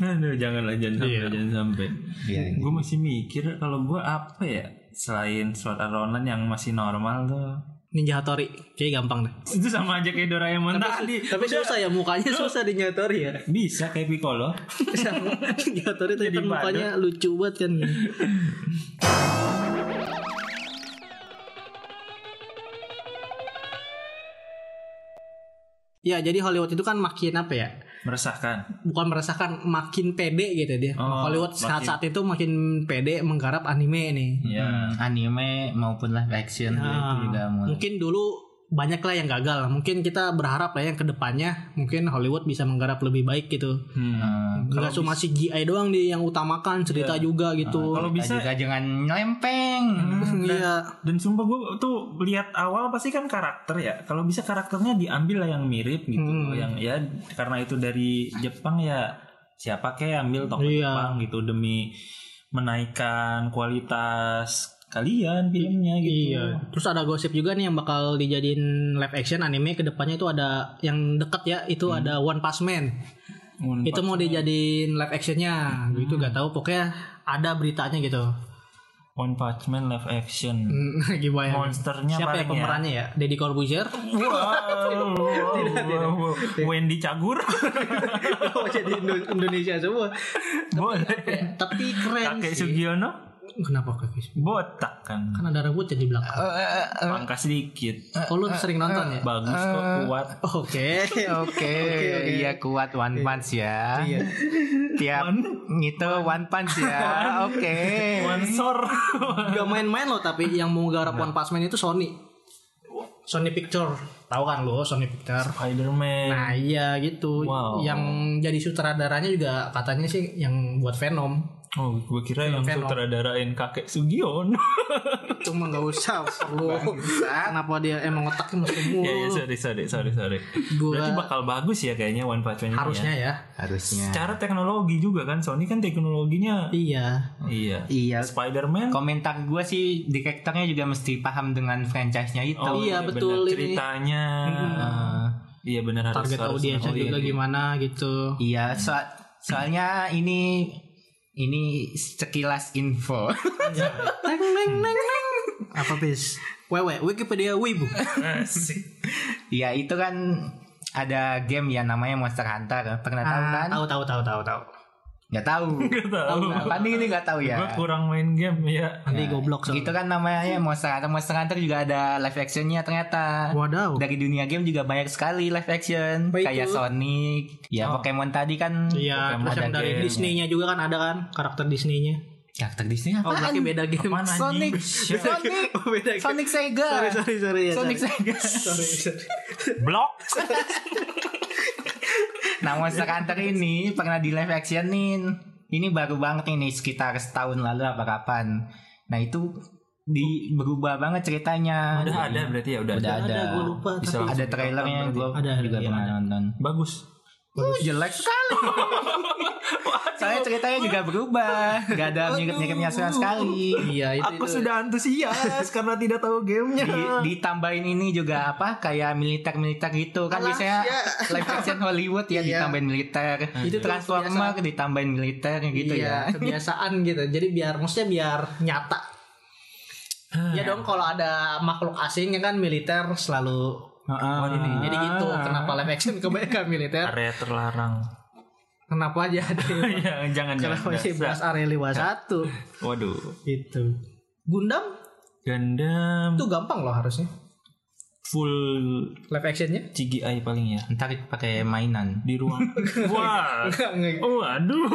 B: Aduh, janganlah jangan sampai jangan sampai.
C: Iya.
B: Gue masih mikir kalau gue apa ya selain slot aronan yang masih normal tuh.
A: Ninja Hattori. Kayak gampang deh.
B: Itu sama aja kayak Doraemon tadi.
A: Tapi susah ya mukanya susah di Ninja Hattori ya.
B: Bisa kayak Piccolo.
A: Sama Ninja Hattori tapi
B: Jadi
A: kan mukanya lucu banget kan. Ya jadi Hollywood itu kan makin apa ya
B: Meresahkan.
A: Bukan meresahkan makin pede gitu dia
B: Oh,
A: Hollywood saat
B: makin-
A: saat itu makin pede menggarap anime nih
C: Hmm.
B: Iya.
C: Ya, anime maupun live action itu
A: Nah,
C: juga
B: Hmm.
C: mulai.
A: Hmm. mungkin dulu banyak lah yang gagal mungkin kita berharap lah yang kedepannya mungkin Hollywood bisa menggarap lebih baik gitu
B: Hmm. Iya.
C: Hmm,
A: nggak cuma CGI doang di yang utamakan cerita juga gitu
B: Ah, Kalau Hmm, bisa
C: kita juga jangan nyelempeng.
A: iya
B: dan sumpah gue tuh lihat awal pasti kan karakter ya. Kalau bisa karakternya diambil lah yang mirip gitu,
A: Hmm.
B: yang ya karena itu dari Jepang ya siapa kayak ambil tokoh
A: Iya.
B: Jepang gitu demi menaikkan kualitas kalian filmnya gitu.
A: iya terus ada gosip juga nih yang bakal dijadiin live action anime kedepannya itu ada yang deket ya itu
B: Hmm.
A: ada One Punch Man
B: Mun-
A: itu
B: Hmm.
A: mau dijadiin live actionnya gitu gak tahu pokoknya ada beritanya gitu
B: One Punch Man live action.
A: Hmm, lagi bayang.
B: Monsternya
A: Siapa ya
B: banyak.
A: pemerannya ya? Deddy Corbuzier?
B: Wow, wow, wow, wow. Wendy Cagur
A: Oh, jadi Indo- Indonesia semua.
B: boleh.
A: Ya, tapi keren
B: Kakek
A: sih.
B: Sugiono
A: Kenapa kakek Sugiono?
B: botak kan.
A: Kan ada rambutnya di belakang.
C: Eh, eh, eh,
B: Pangkas sedikit.
A: Oh, lu sering nonton ya?
B: Bagus kok kuat.
A: Oke.
C: Oke,
A: oke.
C: iya kuat One Punch ya.
A: Iya.
C: Tiap itu One Punch ya. Oke.
B: Sponsor.
A: Gak main-main loh tapi yang mau garap One Punch Man itu Sony. Nah. Sony Picture. Tahu kan lo Sony Picture?
B: Spider-Man.
A: Nah iya gitu.
B: Wow.
A: Yang jadi sutradaranya juga katanya sih yang buat Venom.
B: Oh, gue kira yang
A: Venom.
B: sutradarain kakek Sugiono.
A: Cuma nggak usah perlu. Kenapa dia emang otaknya masih
B: ya, ya,
A: mulu?
B: sorry, sorry, sorry, sorry.
A: Gua-
B: Berarti bakal bagus ya kayaknya One Punch Man ini
A: Harusnya
B: ya.
A: ya.
C: Harusnya.
B: Secara teknologi juga kan, Sony kan teknologinya.
A: Iya.
B: Iya.
C: Iya.
B: Spider-Man.
C: Komentar gue sih direkturnya juga mesti paham dengan franchise-nya itu. Nah,
B: Oh,
A: Iya,
B: bener.
A: betul ini. Mm-hmm.
B: Ceritanya. Iya benar harus
A: Target
B: harus-
A: audiensnya
B: oh, iya,
A: juga
B: iya.
A: gimana gitu.
C: Iya, so- soalnya ini ini sekilas info.
A: Neng neng neng neng. Apa bis? Wewe, Wikipedia Wibu.
B: Asik.
C: Iya, itu kan ada game ya namanya Monster Hunter. Pernah tahu kan?
A: Ah, Tahu tahu tahu tahu tahu.
C: Nggak tahu.
B: Gak tahu.
C: Apa nih ini nggak
A: Iya.
C: tahu
B: Gue
C: ya?
B: kurang main game ya.
A: Nanti goblok soalnya.
C: Gitu kan namanya Monster Hunter. Monster Hunter juga ada live actionnya ternyata.
A: Wadaw.
C: Dari dunia game juga banyak sekali live action.
A: Apa itu? Oh.
C: Kayak Sonic. Ya Pokemon tadi kan.
A: Iya,
B: Pokemon
A: terus yang
B: ada
A: dari
B: game.
A: Disney-nya juga kan ada kan karakter Disney-nya.
C: Karakter Disney apa?
A: Oh, berarti beda game.
B: Apaan anjing?
C: Sonic. Sonic.
A: Oh, beda game.
C: Sonic Sega.
A: Sorry, sorry, sorry ya.
C: Sonic
A: sorry.
C: Sega.
A: Sorry, sorry.
B: Blok.
C: Nah Monster Hunter ini pernah di live actionin Ini baru banget ini sekitar setahun lalu apa kapan Nah itu di berubah banget ceritanya
B: Udah ada berarti ya udah.
C: Udah ada,
A: iya. Ada, gua lupa,
B: Bisa
A: tapi-
B: langsung
C: Ada trailernya
B: ditonton
C: gue
A: Ada, ada,
C: juga
A: iya,
C: pernah
A: ada.
C: nonton
B: berarti. Bagus.
A: Oh,
C: Uh, jelek sekali Soalnya ceritanya juga berubah Gak ada mirip-miripnya sama sekali
A: Iya, itu.
B: Aku
A: itu.
B: sudah antusias karena tidak tahu gamenya.
C: di,
A: Iya.
C: ditambahin ini juga apa kayak militer-militer gitu kan
A: Alas,
C: biasanya
A: ya.
C: live action Hollywood ya
A: Iya.
C: ditambahin militer
A: Itu
C: Transformer ditambahin militer gitu ya
A: iya, kebiasaan gitu. Jadi biar maksudnya biar nyata.
B: Ah.
A: ya dong kalau ada makhluk asing ya kan militer selalu
B: Wah, Oh, ini Ah.
A: jadi gitu kenapa live action kebanyakan militer
B: area terlarang.
A: kenapa aja ada
B: ya, jangan jangan.
A: kenapa sih
B: Nggak.
A: bahas area
B: Iya.
A: Liwa satu
B: Waduh.
A: gitu Gundam
B: Gundam
A: itu gampang loh harusnya
B: full
A: live actionnya
B: CGI paling ya.
C: Ntar pakai mainan.
B: Di ruang. Wah.
A: Nggak, nggak.
B: Waduh.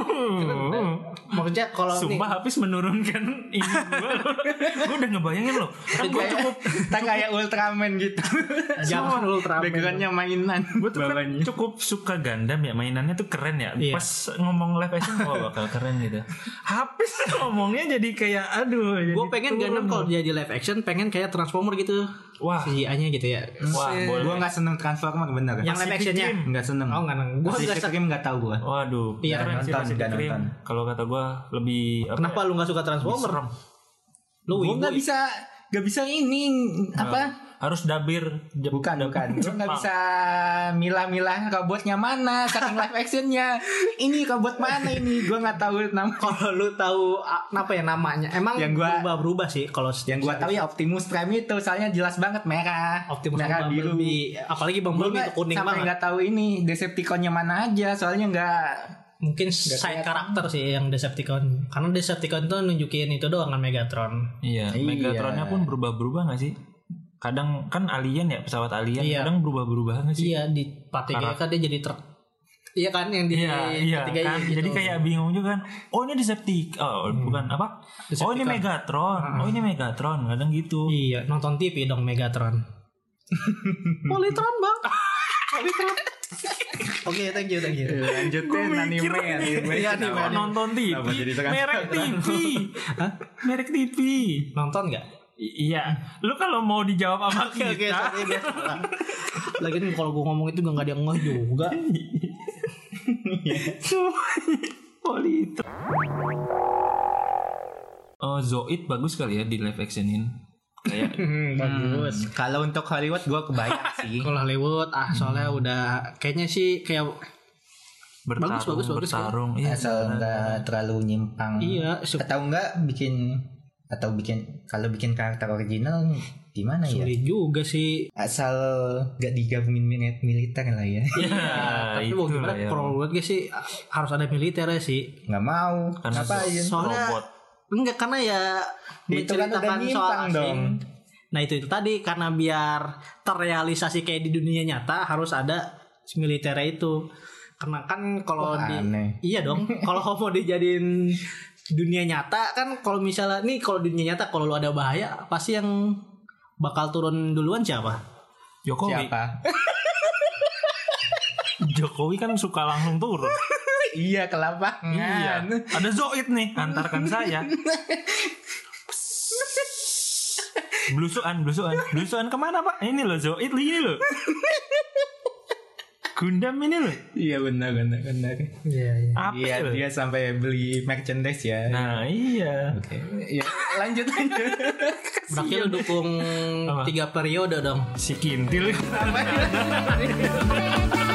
A: maksudnya kalau nih
B: Sumpah habis menurunkan ini gue Gue udah ngebayangin loh Kan gue cukup
C: Ntar kayak Ultraman gitu.
A: jangan Ultraman
C: Backgroundnya mainan.
B: Gue tuh kan cukup suka Gundam ya Mainannya tuh keren ya
A: Iya.
B: Pas ngomong live action Wah bakal keren gitu Habis ngomongnya jadi kayak Aduh jadi
A: gue pengen
B: turun.
A: Gundam kalau jadi live action pengen kayak Transformer gitu
B: Wah.
A: CGI-nya gitu ya
B: Wah boleh
C: Gue nggak seneng Transformer bener.
A: yang live actionnya
B: Dream.
C: nggak seneng.
A: oh nggak gue
C: Pacific
A: nggak suka
C: Rim nggak tahu gue.
B: Waduh
A: Iya,
B: keren sih
C: nonton,
B: Pacific
C: jangan
B: Rim.
C: nonton.
B: Kalau kata gue Lebih apa
A: kenapa
B: ya,
A: lu nggak suka Transformer
B: serem.
A: lu
C: Gue
A: wibu
C: nggak bisa, nggak bisa ini apa?
B: Ah, Harus dabir Jep-
C: Bukan bukan. Gue nggak
B: Jepang.
C: bisa milah-milah robotnya mana, saking live actionnya. Ini robot mana ini? Gue nggak tahu nama.
A: kalau lu tahu ah, apa ya namanya emang
C: Yang gua-
A: berubah berubah sih kalau
C: Yang gue tahu ya Optimus Prime itu, soalnya jelas banget merah,
A: Optimus
C: merah biru.
A: Bumblebee apalagi Bumblebee itu kuning
C: sampai
A: banget
C: nggak tahu ini Decepticonnya mana aja soalnya nggak
A: mungkin side karakter sih yang Decepticon karena Decepticon tuh nunjukin itu doang kan Megatron
B: Iya,
C: Iya.
B: Megatronnya pun berubah-berubah gak sih? Kadang kan alien ya, pesawat alien
A: Iya.
B: kadang berubah-berubah gak sih?
A: iya di part tiga kan dia jadi truk iya kan yang di
B: Iya, iya,
A: ketiga
B: kan.
A: gitu.
B: Jadi kayak bingung juga kan. Oh, ini Deceptic. Oh, bukan apa? Oh, ini Megatron. Oh, ini Megatron. Kadang gitu.
A: iya nonton TV dong Megatron Polytron bang Polytron oke thank you thank you
C: Iya. lanjutin anime anime
A: Iya, anime.
B: Kok nonton TV.
C: Kenapa jadi tekan-
B: Merek TV. Hah? Merek TV.
A: nonton nggak
B: I- Iya. Lu kalau mau dijawab sama
A: Oke oke
B: kita.
A: sorry gue salah. Lagian kalau gue ngomong itu gak ada yang ngeh juga.
B: Polito. Oh, Zoid bagus kali ya di live actionin. Kayak
C: Hmm,
A: Bagus.
C: kalau untuk Hollywood gue kebayang sih
A: Kalau Hollywood ah soalnya
C: Hmm.
A: udah kayaknya sih kayak
B: bertarung,
A: bagus, bagus, kan?
B: bertarung. Iya,
C: asal nggak terlalu nyimpang
A: iya se-
C: atau enggak bikin atau bikin kalau bikin karakter original gimana ya
A: Sulit juga sih.
C: asal gak digabungin minit militer lah ya
A: Tapi
B: Iya, itu
A: mau gimana?
B: ya.
A: Pro banget gak sih ah, harus ada militer ya sih.
C: nggak mau
B: Karena
C: ngapain
A: Soalnya
B: robot.
A: enggak karena ya
C: itu kan udah
A: menceritakan soal
C: bintang
A: asing.
C: dong
A: Nah itu itu tadi karena biar terrealisasi kayak di dunia nyata harus ada militer itu. Karena kan kalau
C: Wah,
A: di
C: aneh.
A: iya dong kalau mau dijadiin dunia nyata kan kalau misalnya nih kalau di dunia nyata kalau lu ada bahaya pasti yang bakal turun duluan siapa?
B: Jokowi.
C: siapa
B: Jokowi kan suka langsung turun.
C: iya kelapa
B: iya. Ada Zoid nih, antarkan saya. Blusuan, blusuan, blusuan kemana pak? Ini loh Zoid, ini loh. Gundam ini loh.
C: iya benar benar benar
A: Iya iya.
B: Apa
C: iya
B: loh?
C: dia sampai beli merchandise ya
B: Nah iya.
C: Oke, ya, lanjut lanjut.
A: Berarti lu dukung
B: Apa?
A: tiga periode dong.
B: Si Kintil.
C: Apa?